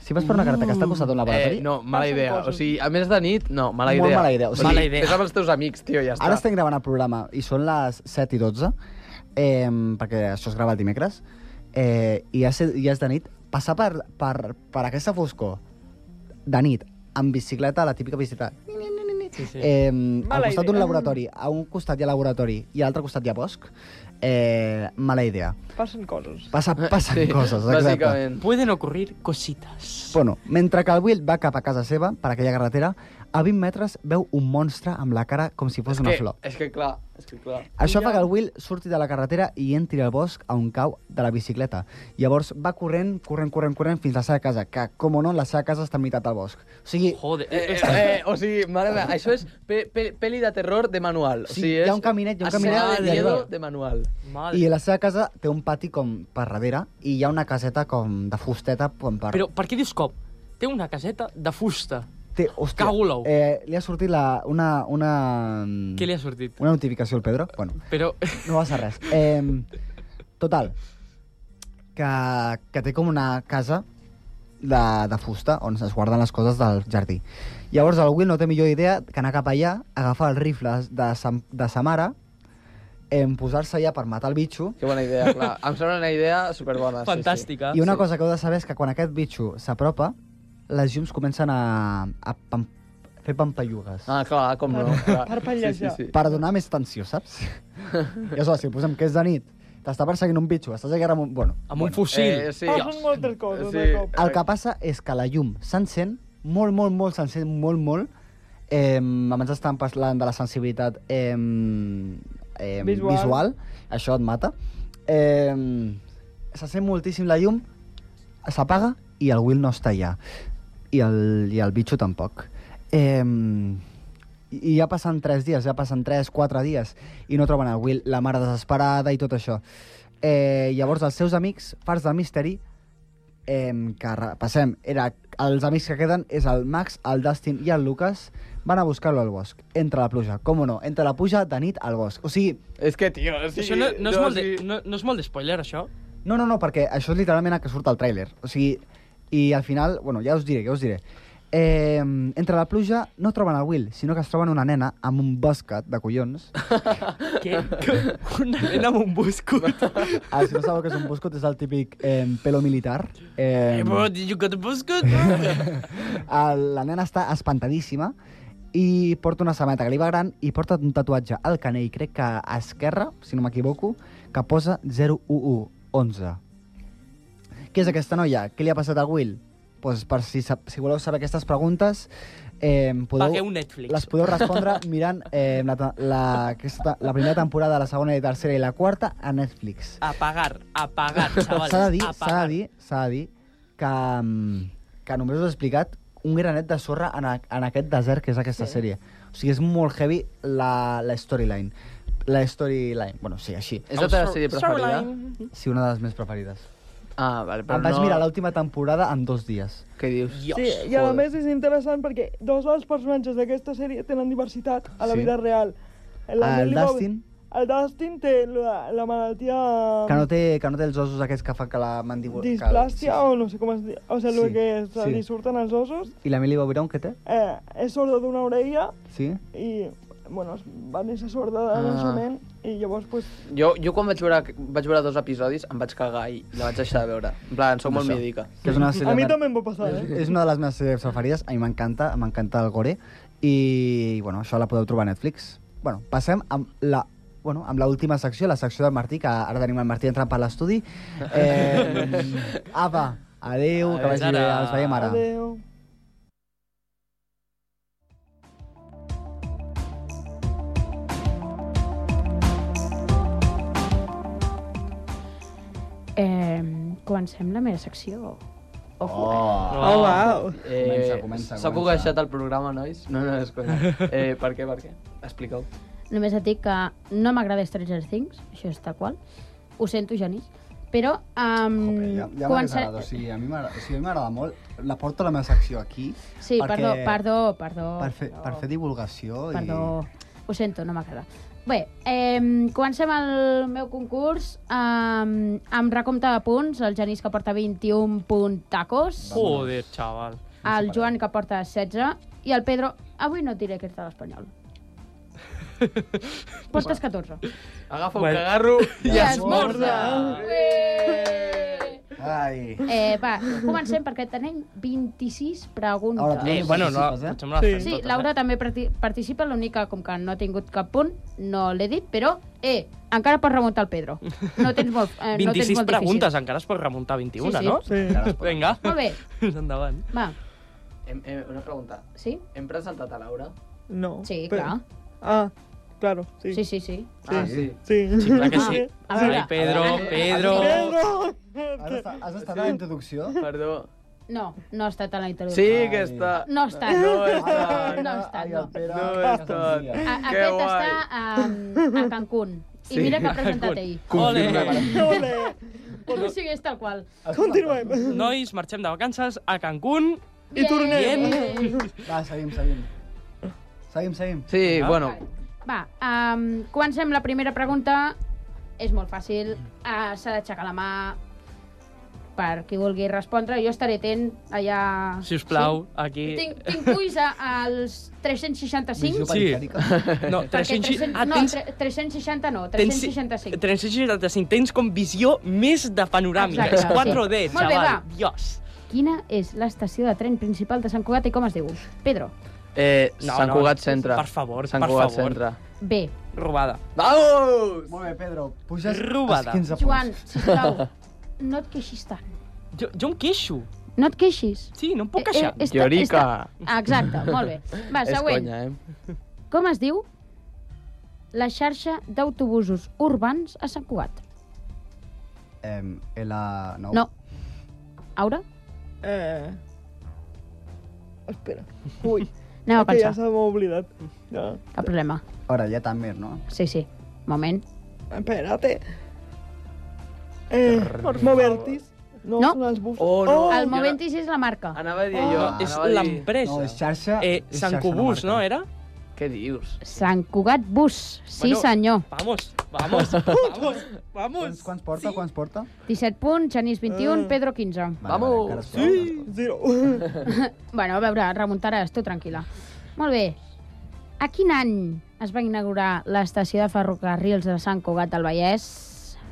H: Si vas per una carretera que està al costat d'un laboratori...
J: Eh, no, mala
K: Passen
J: idea. O
K: coses.
J: sigui, a més de nit, no, mala idea.
H: Molt mala idea, o
J: O
H: sigui-
J: sigui,
D: Mala idea.
J: Fes amb els teus amics, tio, ja està.
H: Ara estem gravant el programa i són les 7 i 12, eh, perquè això es grava el dimecres, eh, i ja, és, ja és de nit. Passar per, per, per aquesta foscor, de nit, amb bicicleta, la típica bicicleta,
D: Sí, sí.
H: Eh, al
K: Mala
H: costat d'un
K: idea.
H: laboratori, a un costat hi ha laboratori i a l'altre costat hi ha bosc, eh, mala idea.
K: Passen coses.
H: Passa, passen
J: Sí,
H: coses, exacte.
J: Bàsicament.
D: Pueden ocurrir cositas.
H: Pues, Bueno, mentre que el Will va cap a casa seva, per aquella carretera, a 20 metres veu un monstre amb la cara com si fos una
J: que,
H: flor.
J: És que clar, és que clar.
H: Això fa que el Will surti de la carretera i entri al bosc a un cau de la bicicleta. Llavors va corrent, corrent, corrent, corrent fins a la seva casa, que, com o no, la seva casa està a meitat del bosc. O sigui,
D: Joder.
J: Eh, eh, eh, o sigui, mare meva, això és pe pe peli de terror de manual. O
H: Sí,
J: sigui,
H: hi ha
J: és
H: un caminet, hi ha un
J: escena
H: caminet i
J: de miedo
H: arriba.
J: de manual.
H: i la seva casa té un pati com per darrere i hi ha una caseta com de fusteta com per...
D: Però per què dius cop? Té una caseta de fusta.
H: Té, hòstia,
D: Cago l'ou.
H: eh, li ha sortit la, una, una...
D: Què li ha sortit?
H: Mm. Una notificació al Pedro? Bueno,
D: Però...
H: no va ser res. Eh, total, que, que té com una casa de, de fusta on es guarden les coses del jardí. Llavors el Will no té millor idea que anar cap allà, agafar el rifle de sa, de sa mare, em posar-se allà per matar el bitxo
J: Que bona idea, clar. Em sembla una idea superbona.
D: Fantàstica.
J: Sí, sí.
H: I una cosa que heu de saber és que quan aquest bitxo s'apropa, les llums comencen a, a pam, fer pampallugues.
J: Ah, clar, com no. Clar.
K: Parpellejar.
J: Sí, sí, sí.
H: Per donar més tensió, saps? I aleshores, si posem que és de nit, t'està perseguint un bitxo, estàs allà amb un... Bueno,
D: Amb un fusil.
J: Eh, sí.
K: Passen moltes coses de
J: Sí.
K: cop.
H: el que passa és que la llum s'encén, molt, molt, molt, s'encén molt, molt. Eh, abans estàvem parlant de la sensibilitat eh, eh,
K: Visual.
H: visual. visual. Això et mata. Eh, s'encén moltíssim la llum, s'apaga i el Will no està allà. I el, i el bitxo tampoc. Eh, i ja passen tres dies, ja passen tres, quatre dies, i no troben el Will, la mare desesperada i tot això. Eh, llavors, els seus amics, farts del misteri, eh, que repassem, era, els amics que queden és el Max, el Dustin i el Lucas, van a buscar-lo al bosc, entre la pluja, com o no, entre la pluja de nit al bosc. O sigui,
J: És que, tio, o sigui,
D: Això no, no, és molt de,
J: sí.
D: no, no és molt de spoiler, això?
H: no, no, no, perquè això és literalment el que surt al tràiler. O sigui, i al final, bueno, ja us diré, ja us diré. Eh, entre la pluja no troben el Will, sinó que es troben una nena amb un boscat de collons
D: Què? Una nena amb un buscut.
H: Ah, si no sabeu què és un buscut, és el típic eh, pelo militar. Eh,
D: did you get a buscut?
H: el, la nena està espantadíssima i porta una sabata que li va gran i porta un tatuatge al canell, crec que a esquerra, si no m'equivoco, que posa 01111. Què és aquesta noia? Què li ha passat al Will? Pues per si, sap- si voleu saber aquestes preguntes, eh, podeu...
D: Pagueu Netflix.
H: Les podeu respondre mirant eh, la, te- la, aquesta, la primera temporada, la segona i la tercera i la quarta a Netflix.
D: A pagar, a pagar, xavals.
H: S'ha de dir,
D: a
H: s'ha
D: pagar.
H: de dir, s'ha de dir que, mm, que només us he explicat un granet de sorra en, a, en aquest desert que és aquesta sí. sèrie. O sigui, és molt heavy la, la storyline. La storyline, bueno, sí, així.
J: És la teva sèrie preferida?
K: Mm.
H: Sí, una de les més preferides.
J: Ah, vale, però
H: Em vaig
J: no...
H: mirar l'última temporada en dos dies.
J: Què dius?
K: Sí, i a més és interessant perquè dos dels personatges d'aquesta sèrie tenen diversitat a la
H: Sí. Ah,
K: vida real.
H: El
K: Millie Bobby-
H: Dustin,
K: El Dustin té la, la malaltia... mm,
H: que no, té, que no té els ossos aquests que fan que la mandíbula...
K: Displàstia,
H: que...
K: o no sé com es diu. O sigui,
H: Sí,
K: el que es,
H: sí.
K: li surten els ossos.
H: Sí. I la Millie Bobby Brown, què té?
K: Eh, és sorda d'una orella
H: Sí?
K: i, bueno, es- va néixer sorda de
J: Ah.
K: naixement i llavors, pues,
J: Jo, jo quan vaig veure, vaig veure dos episodis em vaig cagar i la vaig deixar de veure. En plan, sóc molt
H: Això.
J: mídica.
H: Que és una sèrie
K: a mi
H: de-
K: també em va passar, eh?
H: És una de les meves sèries preferides, a mi m'encanta, m'encanta el gore, i, bueno, això la podeu trobar a Netflix. Bueno, passem amb la bueno, amb l'última secció, la secció del Martí, que ara tenim el Martí entrant per l'estudi. Eh, apa, adeu, que vagi bé,
D: Ara.
H: ens veiem ara.
K: Adéu.
M: Eh, comencem la meva secció. Ojo,
H: Oh.
K: Oh, wow.
H: Comença, comença,
J: Eh,
H: comença.
J: S'ha cogeixat el programa, nois? No, no, és conya. Eh, per què, per què? Explica-ho.
M: Només et dic que no m'agrada Stranger Things, això és tal qual. Ho sento, Genís. Però... Um,
H: Jope, ja, eh? ja
M: comença-
H: m'agrada, o sigui, a mi m'agrada o sigui, a mi m'agrada molt. La porto a la meva secció aquí.
M: Sí, perdó, perdó, perdó.
H: Per fer,
M: perdó.
H: per fer divulgació
M: Perdó, ho sento, no m'agrada. Bé, eh, comencem el meu concurs eh, amb recompte de punts. El Genís que porta 21 puntacos,
D: Joder, xaval.
M: el Joan que porta 16 i el Pedro, avui no et diré que és de l'Espanyol. Portes 14.
J: Agafa un
D: Bueno.
J: cagarro i Eh.
M: I
J: esmorza!
H: i... Ai...
M: Eh, va, comencem perquè tenim 26 preguntes.
H: Ara, tu-
D: Eh, bueno, no,
H: participes, eh?
D: potser me les
K: Sí.
D: fas
M: Sí,
D: totes,
M: Laura
D: eh?
M: també parti- participa, l'únic que com que no ha tingut cap punt, no l'he dit, però, eh, encara pots remuntar el Pedro. No tens molt, eh, no tens
D: 26
M: molt
D: preguntes,
M: Difícil.
D: encara es pot remuntar a 21,
M: Sí, sí.
D: no?
K: Sí.
H: Ara es pot.
D: Vinga,
M: Molt bé,
D: endavant.
M: va.
J: Hem, hem, una pregunta.
M: Sí?
J: Hem presentat a Laura?
K: No.
M: Sí,
K: però-
M: clar.
K: Ah, claro, sí.
M: Sí, sí, sí.
J: Ah, sí.
K: Sí.
D: Sí, clar que sí.
M: A veure.
D: Ai, Pedro,
M: A veure.
D: Pedro.
K: Pedro!
H: Has estat, has estat a la introducció?
J: Perdó.
M: No, no ha estat a la introducció.
J: Sí que està.
M: No està.
J: No
M: No,
J: està.
M: no està, no.
J: No està. Que
M: A, aquest
J: guai.
M: està um, a Cancún. I
J: Sí.
M: mira que ha
D: Cancún.
M: presentat ell.
D: Ole.
M: O sigui, és tal qual.
K: Continuem.
D: Nois, marxem de vacances a Cancún.
K: I tornem.
D: Bien.
H: Va, seguim, seguim. Seguim, seguim.
J: Sí,
D: Ah.
J: bueno.
M: Va, um, comencem la primera pregunta. És molt fàcil. Uh, S'ha d'aixecar la mà per qui vulgui respondre. Jo estaré atent allà...
D: Si us plau, aquí...
M: Sí? Tinc, tinc ulls a- als 365.
D: Sí. No,
M: Perquè
D: 300...
M: 300,
D: Ah,
M: no,
D: tens...
M: tre- 360 no,
D: Tens-
M: 365.
D: 365 tens com visió més de panoràmica. És
M: Exacte,
D: 4D,
M: sí. Molt bé,
D: xaval.
M: va.
D: Dios.
M: Quina és l'estació de tren principal de Sant Cugat i com es diu? Pedro.
J: Eh,
D: No,
J: Sant
D: no,
J: Cugat
D: no.
J: Centre.
D: Per favor,
J: Sant
D: per
J: Cugat
D: favor.
J: Centre.
M: B.
D: Robada.
J: Vamos!
H: Molt bé, Pedro. Puges
D: Robada.
H: als 15 punts.
M: Joan, sisplau, no et queixis tant.
D: Jo, jo em queixo.
M: No et queixis.
D: Sí, no em puc
M: Eh,
D: queixar.
M: eh, està-
J: Llorica.
M: està- Exacte, molt bé. Va,
J: És
M: següent.
J: conya, eh?
M: Com es diu la xarxa d'autobusos urbans a Sant Cugat?
H: Em, L9.
M: No. Aura?
K: Eh... Espera. Ui,
M: Anem a
K: que ja
M: pensar.
K: se m'ha oblidat. Ja.
M: Cap problema.
H: Ara ja també, no?
M: Sí, sí. Moment.
K: Espérate. Eh, Movertis. No,
M: No.
K: són els bus.
J: Oh, no.
M: El Moventis és la marca.
J: Anava a dir jo.
H: Ah,
D: No, Ah, és
J: anava a dir-
D: l'empresa.
H: No, és xarxa...
D: Eh,
H: és
D: Sant
H: xarxa de
D: Cubús, no,
H: marca.
D: era?
J: Què dius?
M: Sant Cugat Bus. Sí,
D: Bueno.
M: senyor.
D: Vamos, vamos, vamos, vamos.
H: Quants, quants porta? Quants porta?
M: 17 punts, Genís 21, Pedro 15.
H: Vale, vale,
J: Vamos.
H: encara es
K: Sí,
H: poden, encara es
K: zero.
M: Bueno, a veure, remuntaràs, tu tranquil·la. Molt bé. A quin any es va inaugurar l'estació de ferrocarrils de Sant Cugat del Vallès?
H: poden.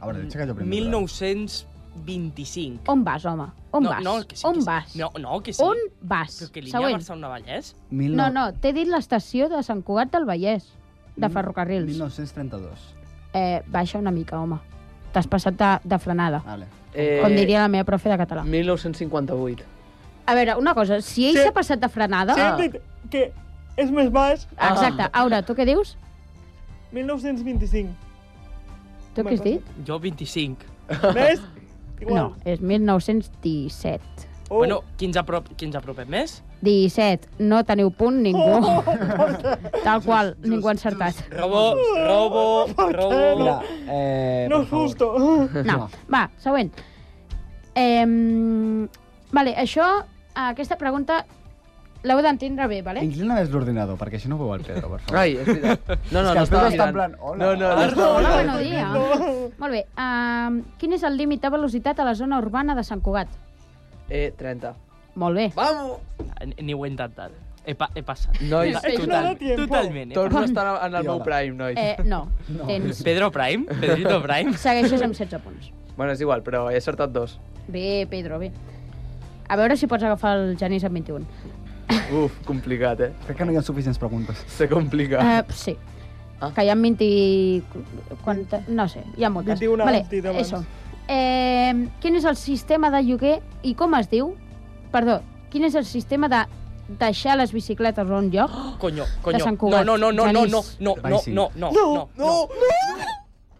H: A veure, deixa que jo primer.
D: 1925.
M: On vas, home? On
D: no,
M: vas?
D: No, que sí,
M: On
D: que sí.
M: vas?
D: No, no, que sí.
M: On vas?
D: Però que línia
M: Següent.
D: Barcelona-Vallès?
H: Mil
M: No, no, t'he dit l'estació de Sant Cugat del Vallès, de
H: Mil-
M: ferrocarrils.
H: 1932.
M: Eh, baixa una mica, home. T'has passat de, de frenada,
H: Vale.
J: Eh,
M: com diria la meva profe de català.
J: 1958.
M: A veure, una cosa, si ell
K: Sí.
M: s'ha passat de frenada...
K: Sí, hem dit que és més baix
M: Exacte. Aura, tu què dius?
K: 1925.
M: Tu què has dit?
D: Jo 25.
K: Més?
M: No, és 1917.
K: Oh.
D: Bueno, qui ens, aprop, qui ens apropem més?
M: 17. No teniu punt ningú.
K: Oh.
M: Tal qual, ningú ha encertat.
D: Robo, robo, robo.
H: Mira, eh,
K: no
H: per
K: és
H: favor.
K: justo.
M: No. Va, següent. Eh, vale, això, aquesta pregunta l'heu d'entendre bé, vale?
H: Inclina més l'ordinador, perquè així no veu el Pedro, per favor.
J: Ai, és veritat. No,
H: És que
J: no, no
H: el Pedro
J: estava
H: està en
J: mirant.
H: plan, hola.
J: No, no, no
H: Hola,
J: estava
M: Hola,
J: mirant.
M: bon dia. Molt bé. Um, quin és el límit de velocitat a la zona urbana de Sant Cugat?
J: Eh, 30.
M: Molt bé.
J: Vamos!
D: Ni- Ni ho he intentat. He, pa he passat.
J: Nois,
K: Ei, no da
J: total,
K: tiempo.
D: Totalment. Eh?
J: tots no estan en el
H: Tiola.
J: meu prime, nois.
M: Eh, no, tens...
D: Pedro Prime? Pedrito Prime?
M: Segueixes amb 16 punts.
J: Bueno, és igual, però he acertat dos.
M: Bé, Pedro, bé. A veure si pots agafar el Genís amb 21.
J: Uf, complicat, eh?
H: Crec que no hi ha suficients preguntes.
J: Se complica.
D: Eh,
M: Uh, sí. Ah. Que hi ha 20... Quanta... No sé, hi ha moltes.
K: 21
M: vale,
K: has dit abans.
M: Eso. Eh, quin és el sistema de lloguer i com es diu? Perdó, quin és el sistema de deixar les bicicletes a un lloc?
D: Coño, coño.
M: Sant Cugat.
D: No, no, no, no, no,
M: Genís.
D: no,
H: Vai,
D: no,
H: sí.
D: no, no, no, no, no,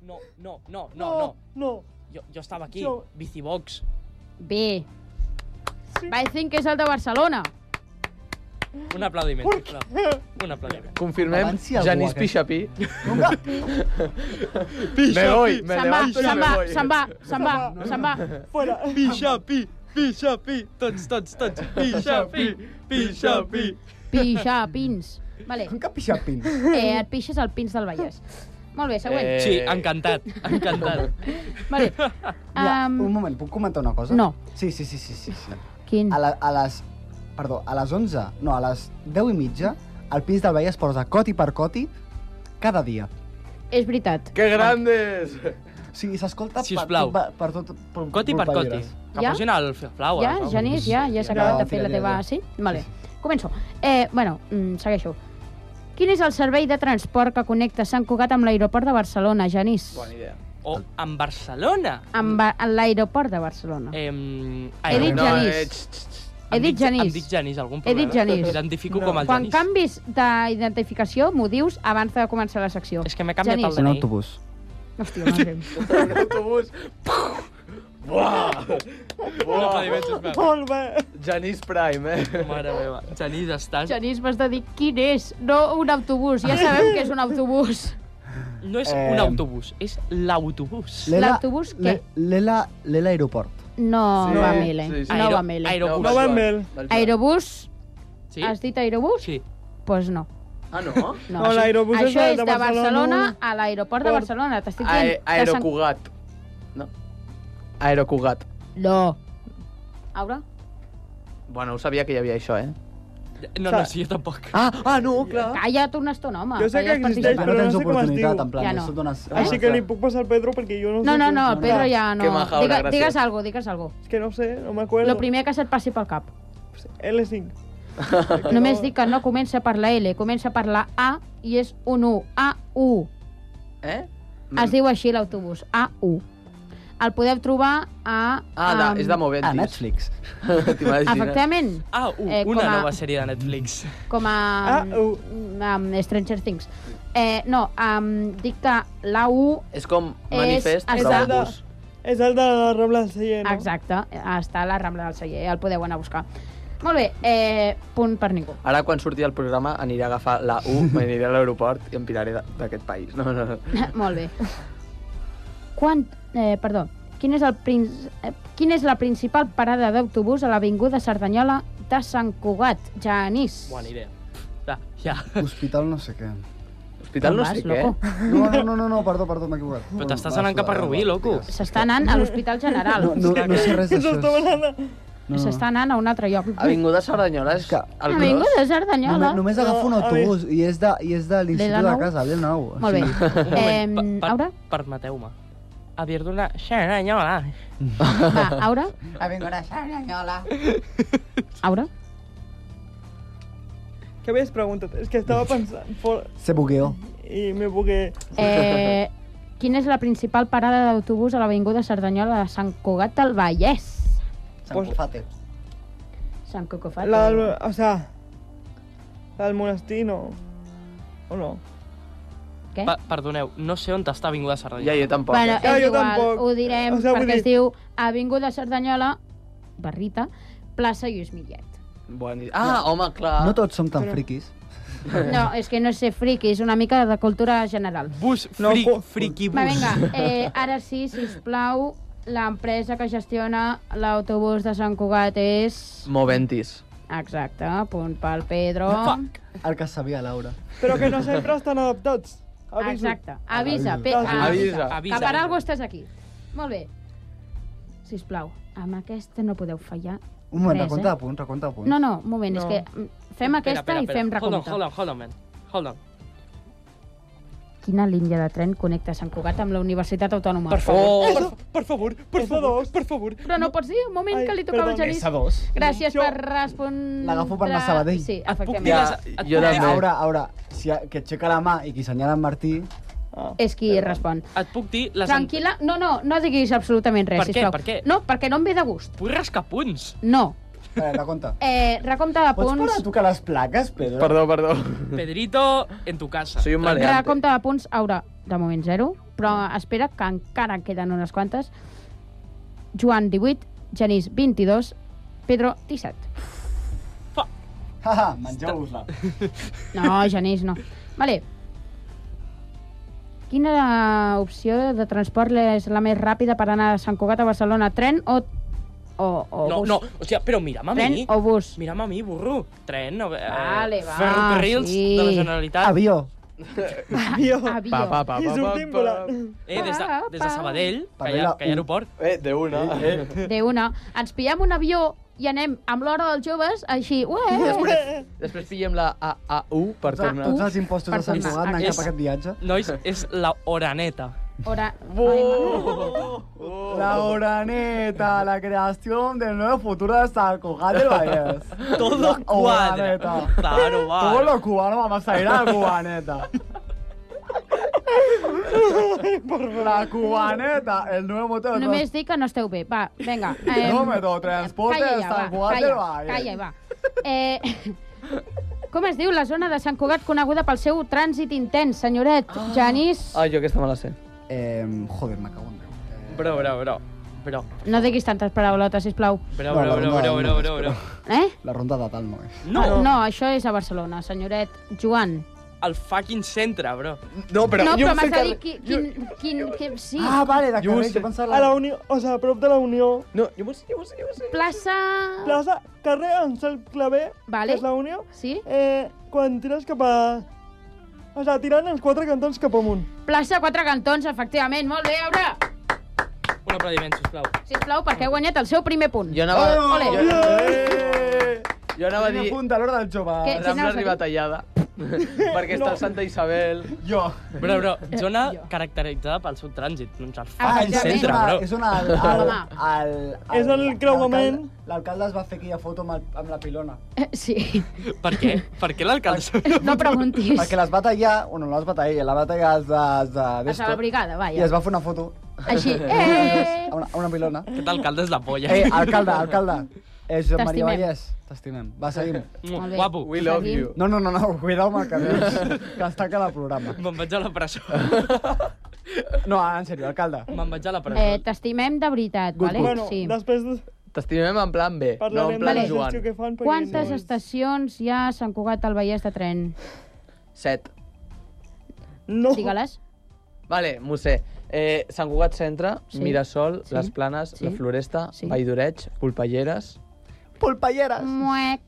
D: no, no, no, no.
K: No.
D: Jo, jo estava aquí,
K: Jo-
D: Bicibox.
M: Bé. I think que és el de Barcelona.
D: Un aplaudiment, sisplau. Un aplaudiment.
J: Confirmem,
H: Abans hi ha algú
J: Janís
H: aquest.
J: Pixapí. Me voy, me
M: Se'n va,
J: levanto y
M: se'n va,
J: me voy.
M: se'n va, se'n va, se'n va.
K: Fora.
D: Pixapi, pixapi, tots, tots, tots. Pixapi, pixapi.
M: Pixar pins. Vale.
H: Com que pixa pins?
M: Eh, et pixes el pins del Vallès. Molt bé, següent.
J: Eh.
D: Sí, encantat, encantat.
H: Eh,
M: Vale.
H: Ja,
M: Am,
H: un moment, puc comentar una cosa?
M: No.
H: Sí, sí, sí, sí, sí. sí.
M: quin?
K: Mm.
H: A, la, a les... Perdó, a les 11, no, a les 10 i mitja, el Pins del Vallès posa coti per coti cada dia.
M: És veritat.
J: Que grandes!
H: O sigui, s'escolta per,
D: Sisplau.
H: per, per tot... Per,
D: Coti per coti. Que
M: Ja?
D: posin el flower.
M: Ja,
D: no?
M: Genís, ja, ja s'ha
H: Ja,
M: acabat de fer
H: tira,
M: la
H: tira,
M: teva...
H: tira.
M: Sí? Vale. Començo. Eh, bueno, mm, segueixo. Quin és el servei de transport que connecta Sant Cugat amb l'aeroport de Barcelona, Genís?
J: Bona idea.
D: O en Barcelona.
M: Amb ba- amb l'aeroport de Barcelona.
D: Em,
M: Ah. He dit
J: No,
M: Genís.
J: eh, txt, txt, txt.
M: He
D: Em
M: dit Genís.
D: Em dic Genís, algun
M: He
D: problema?
M: dit Genís.
D: Identifico com el
M: Quan
D: Genís.
M: canvis d'identificació, m'ho dius abans de començar la secció. És
D: que m'he
H: canviat el DNI. Un autobús.
M: Hòstia, no sé.
J: Un autobús. Buah! Buah!
D: aplaudiment, sisplau.
J: Molt bé. Janís Prime, eh?
D: Mare meva. Genís, estàs...
M: Genís, m'has de dir quin és, no un autobús. Ja sabem que és un autobús.
D: No és
H: Eh,
D: un autobús, és l'autobús.
M: L'autobús què?
H: Le- L'Ela l'Ela aeroport.
M: No
H: Sí,
M: va a mil, eh?
H: sí, sí.
M: No
H: Aero-
M: va a mil, eh?
H: aerobús. No va amb ell.
M: Aerobús?
D: Sí.
M: Has dit aerobús?
D: Sí.
M: Pues no.
J: Ah, no?
M: No,
K: No,
M: això-
K: l'aerobús és
M: això
K: el
M: és
K: de
M: de Barcelona,
K: Barcelona.
M: a l'aeroport de
K: Port.
M: Barcelona. T'estic dient...
J: Ae Aerocugat. No? Aerocugat.
M: No. Aura?
J: Bueno, ho sabia que hi havia això, eh?
D: No, no, sí, jo tampoc.
J: Ah, ah, no, clar.
M: Calla't una estona, home.
K: Jo sé que
M: Calla't per
K: existeix,
M: dir-me.
K: però no sé com es diu.
H: en plan,
M: Ja no.
H: això et Ah, dones-
K: Així que li puc passar al Pedro perquè jo no sé...
M: No, no,
K: com
M: no,
K: es
M: el
K: diu.
M: Pedro ja no.
K: Qué maja, Aura,
M: Diga-
K: gràcies.
M: digues algo, digues algo.
K: És que no sé, no m'acuerdo.
M: Lo primer que se't passi pel cap.
K: L5.
M: Només dic que no comença per la L, comença per la A i és un U. A-U.
J: Eh?
M: Es diu així l'autobús, A1. El podeu trobar a...
J: Ah, de,
M: em,
J: és de Moventis.
M: a Netflix.
J: T'imagines?
M: Efectivament.
D: Ah, u,
M: Eh, com
D: una
M: a-
D: nova sèrie de Netflix.
M: Com a...
K: Ah,
D: A1.
M: Um, Stranger Things. Eh, no, um, dic que l'A1
J: És com
M: És-
J: manifest,
M: és
J: però
M: el
J: amb
M: de-
J: bus.
M: És el de la Rambla del Celler, no? Exacte, està a la Rambla del Celler, el podeu anar a buscar. Molt bé, eh, punt per ningú.
J: Ara, quan surti el programa, aniré a agafar la U, m'aniré a l'aeroport i em piraré de- d'aquest país. No, no, no.
M: Molt bé. Quan, eh, perdó, quin és, el princ, eh, quin és la principal parada d'autobús a l'Avinguda Cerdanyola de Sant Cugat, Genís?
D: Bona idea. Ja, ja.
H: Hospital no sé què.
J: Hospital no
M: Vas,
J: sé
M: loco.
J: què. eh?
H: No, no, no, no, no perdó, perdó, m'he equivocat.
D: Però t'estàs anant cap a Rubí, loco.
M: S'està anant a l'Hospital General.
H: No, no, no sé res d'això. No, no.
M: S'està anant a un altre lloc.
J: Avinguda Cerdanyola és que... el
M: Avinguda Cerdanyola.
H: Només, només agafo un autobús i és de, i és de l'institut de
M: nou?
H: casa, l'E9.
M: Molt bé. Eh, Aura?
D: Permeteu-me. Haver d'una xeranyola.
M: Va, Aura?
N: Avinguda Cerdanyola.
M: Aura?
K: Què havies preguntat? És que estava pensant fora
H: Se bugueó.
K: i me bugué.
M: Eh, quina és la principal parada d'autobús a l'Avinguda Cerdanyola de Sant Cugat del Vallès?
H: Sant Cofate.
M: Sant eh? Cocofat.
K: La del, o sea, la del monestir no. O no?
M: Què?
D: Pa perdoneu, no sé on està Avinguda Cerdanyola.
J: Ja, jo tampoc. eh.
M: Bueno, és
K: Ja, jo
M: igual,
K: tampoc.
M: ho
K: O
M: direm,
K: sea, vull
M: perquè es
K: dir-
M: diu Avinguda Cerdanyola, Barrita, plaça Lluís Millet.
J: Bon... Ah, home, clar.
H: No tots som tan friquis.
M: No, és que no és ser friqui, és una mica de cultura general.
D: Bus, fric, friqui bus.
M: Va, vinga, eh, ara sí, si us plau, l'empresa que gestiona l'autobús de Sant Cugat és...
J: Moventis.
M: Exacte, punt pel Pedro.
H: El que sabia Laura.
K: Però que no sempre estan adaptats. Aviso.
M: Exacte.
H: Avisa.
M: Avisa, Pe
H: Avisa.
M: avisa.
H: Avisa.
M: Que per algo estàs aquí. Molt bé. Sisplau, amb aquesta no podeu fallar
H: Un moment,
M: res,
H: recompte
M: eh?
H: de punts, recompte de punts.
M: No, no, un moment, no.
H: No.
M: és que mm, fem aquesta
D: Espera, espera,
M: i fem
D: espera.
M: recompte.
D: Hold on, hold on, hold on, man. Hold on.
M: Quina línia de tren connecta Sant Cugat amb la Universitat Autònoma?
D: Per favor, per, fa- per favor, per favor, per favor.
M: Però no pots dir, un moment, que li tocava al
D: perdona.
M: Genís.
D: És a dos.
M: Gràcies per respondre...
H: L'agafo per anar a Sabadell.
M: Sí,
H: Ja,
M: efectivament.
H: jo també. Aura, Aura, si, que aixeca la mà i qui senyala en Martí...
M: És qui respon.
D: Et puc dir les...
M: Tranquil·la, no, no, no diguis absolutament res,
D: Per què,
M: sisplau.
D: per què?
M: No, perquè no em ve de gust.
D: Vull rascar punts.
M: No.
H: Eh, recompte.
M: Eh, recompte de
H: Pots parar
M: punts...
H: a tocar les plaques, Pedro?
J: Perdó, perdó.
D: Pedrito, en tu casa.
J: Soy un
M: Recompte de punts, Aura, de moment 0, però espera que encara en queden unes quantes. Joan, 18, Genís, 22, Pedro, 17.
H: Haha, mengeu-vos-la.
M: No, Genís, no. Vale. Quina opció de transport és la més ràpida per anar de Sant Cugat a Barcelona? Tren o... o, o
D: No,
M: bus?
D: no, o sigui, però mira'm a
M: Tren
D: mi.
M: o bus?
D: Mira'm a mi, burro. Tren, no, eh,
M: Vale, va,
D: ferrocarrils
M: sí.
D: de la Generalitat.
H: Avió.
K: Avió.
M: Avió.
J: Pa, pa, pa, pa,
K: I sortim
J: pa, pa.
K: volant.
D: Eh, des de, des de Sabadell, que hi,
J: Parlem
D: ha,
J: la
D: que
J: U.
D: hi ha aeroport.
J: Eh, de una. Eh, eh.
M: De una. Ens pillem un avió i anem amb l'hora dels joves, així... Ué!
J: Després, després pillem la AAU per
M: Tots-
J: tornar.
M: tots els impostos
H: de Sant Cugat anant cap a aquest viatge.
D: Nois, és la oraneta.
M: Hora...
K: Oh,
H: La Oraneta, la creación del nuevo futuro de San Cugat del Vallès.
D: Todo
H: La
D: cuadra.
H: Oraneta.
D: Claro, va.
H: Todos los cubanos vamos a ir a la cubaneta.
O: La cubaneta, el nuevo motor.
M: Només dic que no esteu bé. Va, vinga.
O: Número transporte
M: calla
O: a
M: ja,
O: San
M: va,
O: Juan del
M: calla,
O: Valle.
M: Calla i va. Eh, com es diu la zona de Sant Cugat coneguda pel seu trànsit intens, senyoret? Janís,
J: Ai, Ah, jo aquesta me la sé.
H: Eh, joder, me cago en Eh, Déu.
D: Bro, bro, bro. Bro,
M: no diguis tantes paraulotes, sisplau.
D: bro, bro, bro, bro, bro, bro, bro.
M: Eh?
H: La ronda de eh. tal no és.
D: No.
M: Ah, no, això és a Barcelona, senyoret. Joan.
D: El fucking centre, bro.
J: No,
M: no, però m'has de dir qui, quin, quin, quin, sí.
H: Ah, vale, de
J: Jo ho
H: carrer,
J: sé.
H: jo pensava...
K: A la Unió, o sigui, a prop de la Unió.
J: No, jo m'ho sé, jo m'ho sé, jo m'ho sé.
M: Plaça...
K: Plaça, carrer Ansel Clavé,
M: Vale.
K: que és la Unió.
M: Sí.
K: Eh, quan tires cap a... O sigui, tirant els quatre cantons cap amunt.
M: Plaça Quatre Cantons, efectivament. Molt bé, Aura.
D: Un aplaudiment, sisplau.
M: Sisplau, perquè he guanyat el seu primer punt.
J: Jo anava-
K: Oh,
M: Ole.
J: jo- Jo anava a
O: Primer
J: dir...
O: punt de l'hora del
K: Ah,
O: jove.
M: Què- què
J: Rambla
M: anaves a dir?
J: arriba tallada. perquè està el Santa Isabel.
O: Jo.
D: Bro, bro, zona caracteritzada pel seu trànsit, doncs el
H: Ah,
D: fucking
H: ja, és
D: centre,
H: una,
D: bro.
H: és una... Al, al, al, al,
K: És el creuament.
H: l'alcalde- L'alcalde es va fer aquella foto amb, el, amb la pilona.
M: Eh, Sí,
D: Per què? Per què l'alcalde...
M: no preguntis.
H: Perquè les va tallar, bueno, no les va tallar, ella, la va tallar els de... Els de
M: A
H: d'esto,
M: la brigada,
H: I es
M: vaja.
H: va fer una foto.
M: Així, eh!
H: A una, a una pilona.
D: Aquest alcalde és la polla.
H: Eh, alcalde, alcalde. Eh, Josep Maria
M: T'estimem.
H: Vallès, t'estimem. Va, seguim.
M: Molt bé.
D: Guapo.
J: We love you.
H: No, no, no, no, cuidao amb el cabell, que està cada programa.
D: Me'n vaig a la presó.
H: No, en sèrio, alcalde.
D: Me'n vaig a la presó.
M: Eh, T'estimem de veritat, vale?
K: Bueno,
M: sí.
K: després de-
J: T'estimem en plan B, no
K: parlarem
J: en
K: de
J: plan
K: la
J: Joan.
K: gestió que fan. perquè
M: Quantes
K: no és-
M: estacions hi ha a Sant Cugat del Vallès de tren?
J: Set.
K: No.
M: Digue-les.
J: Vale, m'ho sé. Eh, Sant Cugat Centre,
M: Sí.
J: Mirasol,
M: Sí.
J: Les Planes,
M: Sí.
J: La Floresta,
M: Sí.
J: Vall d'Oreig, Pulpalleres...
H: Polpalleres.
M: Muec,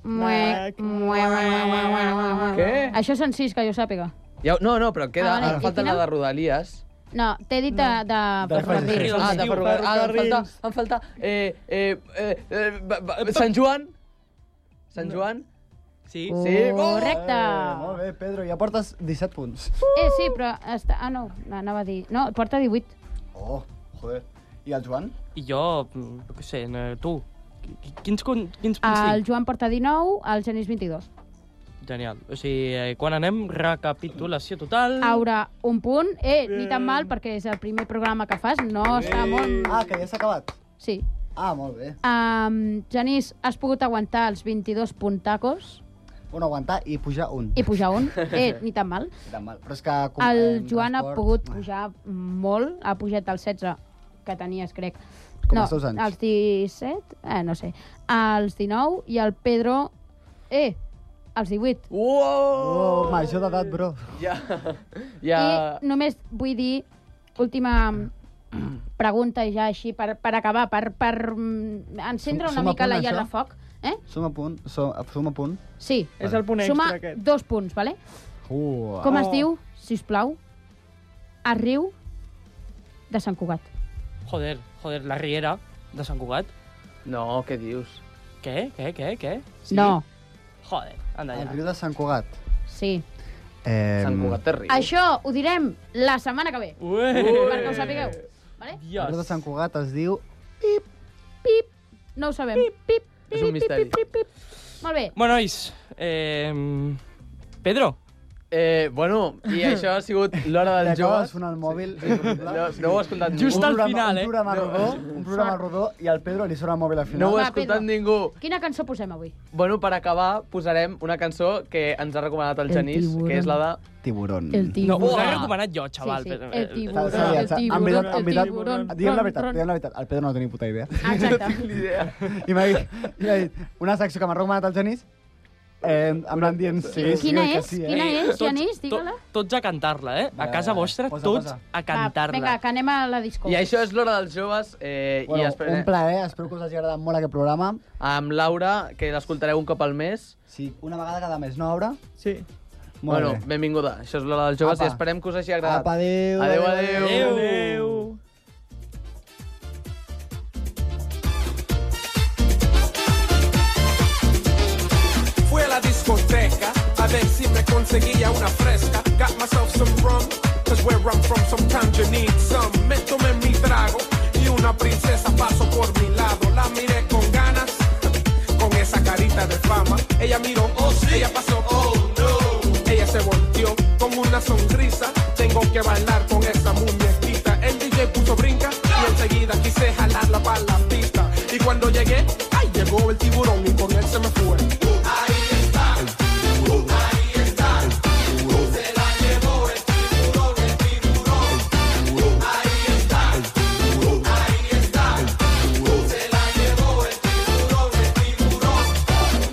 K: Muec,
M: muec, muec, muec, muec, muec, muec, muec.
J: Què?
M: Això són sis, que jo sàpiga.
J: Ja, no, no, però queda,
M: Ah, vale,
J: ara
M: i
J: falta
M: final?
J: la de Rodalies.
M: No, t'he dit de... de...
H: De ferrocarrils.
D: Ferrocarrils.
J: Ah, de ferrocarrils. Ah, em falta,
K: Ferrocarrils.
J: em falta eh, eh, eh, eh, ba- ba- Sant Joan. Sant Joan.
M: Ah,
D: Sí?
M: oh.
J: Sí,
M: Correcte.
H: Eh, molt bé, Pedro, ja portes 17 punts.
M: Eh, sí, però... Està... Ah, no, no, anava a dir... No, porta 18.
H: Oh, joder. I el Joan?
D: I jo, mm, jo què sé, no, tu. Qui- Quins, con- quins punts
M: El
D: tinc?
M: Joan porta 19, el Genís 22.
D: Genial. O sigui, eh, quan anem, recapitulació total.
M: Aura, un punt. Eh, ni tan mal, perquè és el primer programa que fas. No està molt...
H: Ah, que ja s'ha acabat.
M: Sí.
H: Ah, molt bé.
M: Um, Genís, has pogut aguantar els 22 puntacos
H: Bueno, aguantar i pujar un.
M: i pujar un. Eh, ni tan mal.
H: Tan mal. Però és que... com-
M: El
H: eh,
M: Joan ha
H: transport-
M: pogut pujar molt, ha pujat del 16 que tenies, crec.
H: Com
M: no,
H: els teus anys.
M: Els 17, eh, no sé, als 19 i el Pedro, eh, als 18.
H: Oh,
J: Uou!
H: major d'edat, bro.
J: Ja, ja...
M: I només vull dir, última pregunta ja així per, per acabar, per, per mm, encendre
H: Suma
M: una mica
H: punt,
M: la
H: això?
M: llana a foc. Eh?
H: Som a punt, som, som a punt.
M: Sí,
K: És el punt extra
M: suma
K: aquest.
M: dos punts, vale?
H: Uh,
M: Com es
K: Oh.
M: diu, si us plau, a riu de Sant Cugat?
D: Joder, joder, la Riera de Sant Cugat.
J: No, què dius?
D: Què? Què? Què? Què? Sí?
M: No,
D: Joder, anda
H: Ah, el
D: ja.
H: riu de Sant Cugat.
M: sí.
H: Eh,
J: Sant Cugat de Riu.
M: Això ho direm la setmana que ve,
D: Ué!
M: perquè ho sapigueu. Vale?
H: El riu de
D: Dios.
H: Sant Cugat es diu...
M: Pip, no ho sabem. Pip, pip,
J: És un misteri.
M: molt bé.
D: Bueno, nois, eh, Pedro,
J: Eh, bueno, i això ha sigut l'hora
H: Li
J: dels
H: acaba de
J: joves.
H: sonar el mòbil.
J: No, no ho ha escoltat ningú.
D: Just al final, eh?
H: Un programa rodó, un programa rodó, i al Pedro li sona el mòbil al
J: No
H: final.
J: ho ha
M: Va,
J: escoltat
M: Pedro.
J: ningú.
M: Quina cançó posem avui?
J: Bueno, per acabar, posarem una cançó que ens ha recomanat el
M: El
J: Genís,
M: tiburón.
J: que és la de...
H: Tiburón.
D: no, us l'he recomanat jo, xaval. Eh,
M: Sí, sí,
D: però-
M: el tiburón,
H: S'ha- s'ha liat,
M: el
H: s'ha- en
M: tiburón,
H: veritat- en
M: el
H: veritat-
M: tiburón.
H: Diguem la
M: Ron,
H: veritat,
M: ron.
H: diguem la veritat. El Pedro no té ni puta idea.
M: Exacte.
J: L'idea.
H: I m'ha dit, i m'ha dit, una secció que m'ha recomanat el Genís, eh, em van dient sí, sí,
M: Quina
H: oi que
M: és?
H: sí, eh?
M: Quina
D: Eh,
M: és,
D: tots-
M: Genís?
D: to-
M: Digue-la.
D: Tots a cantar-la, eh? A
H: Vale,
D: casa
H: vale,
D: vostra,
H: posa,
D: tots
H: posa.
D: a
M: Va, vinga,
D: cantar-la.
M: que anem a la disco.
J: I això és l'hora dels joves, eh, i
H: Bueno,
J: esperem...
H: un plaer, espero que us hagi agradat molt aquest programa.
J: amb Laura, que l'escoltareu un cop al mes.
H: Sí, una vegada cada mes, no, Aura?
K: Sí.
H: Molt
J: bueno,
H: bé.
J: benvinguda. Això és l'hora dels joves
H: Apa.
J: i esperem que us hagi agradat.
H: Apa, adéu.
J: Adéu, adéu.
D: Adéu.
K: Adéu.
P: Fui a la discoteca a ver si me conseguía una fresca. Got myself some rum, cause where I'm from sometimes you need some. Me tomé mi trago y una princesa pasó por mi lado. La miré con ganas, con esa carita de fama. Ella miró, oh sí, ella pasó, oh no. Ella se volteó con una sonrisa. Tengo tengo que bailar con esa muñequita. El DJ puso brinca y enseguida quise jalarla para la pista. Y cuando llegué, ahí llegó el tiburón y con él se me fue. Ahí está, el tiburón. Ahí está, el tiburón. Se la llevó el tiburón, el tiburón. El tiburón. Ahí está, el tiburón. Ahí está, el tiburón. Se la llevó el tiburón, el tiburón.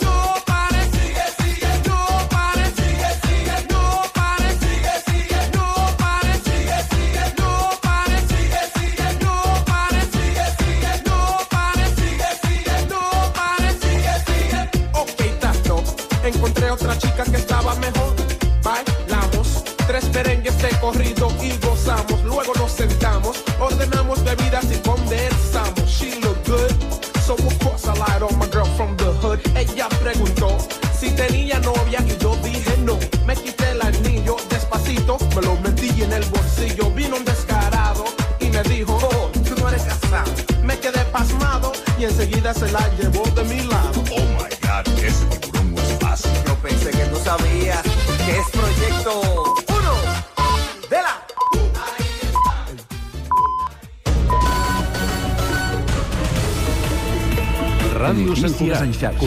P: No pares, sigue, sigue, no pares, sigue, sigue, no pares, sigue, sigue, no pares, sigue, sigue, no pares, sigue, sigue, no pares, sigue, sigue, no pares, sigue, sigue, no pares, sigue, sigue. Ok, tato, encontré otra chica que estaba mejor. Bailamos tres merengues de corrido y gozamos. Luego nos sentamos, ordenamos bebidas y conversamos. She look good. So of course I lied on my girl from the hood. Ella preguntó si tenía novia y yo dije no. Me quité el anillo despacito, me lo metí en el bolsillo. Vino un descarado y me dijo, oh, tú no eres casado. Me quedé pasmado y enseguida se la llevó de mi lado. Oh my God, ese tiburón no es fácil. Yo pensé que no sabía que es proyecto uno de la
A: Ràdio Sant
I: Notícies en
A: Cugat.
I: xarxa.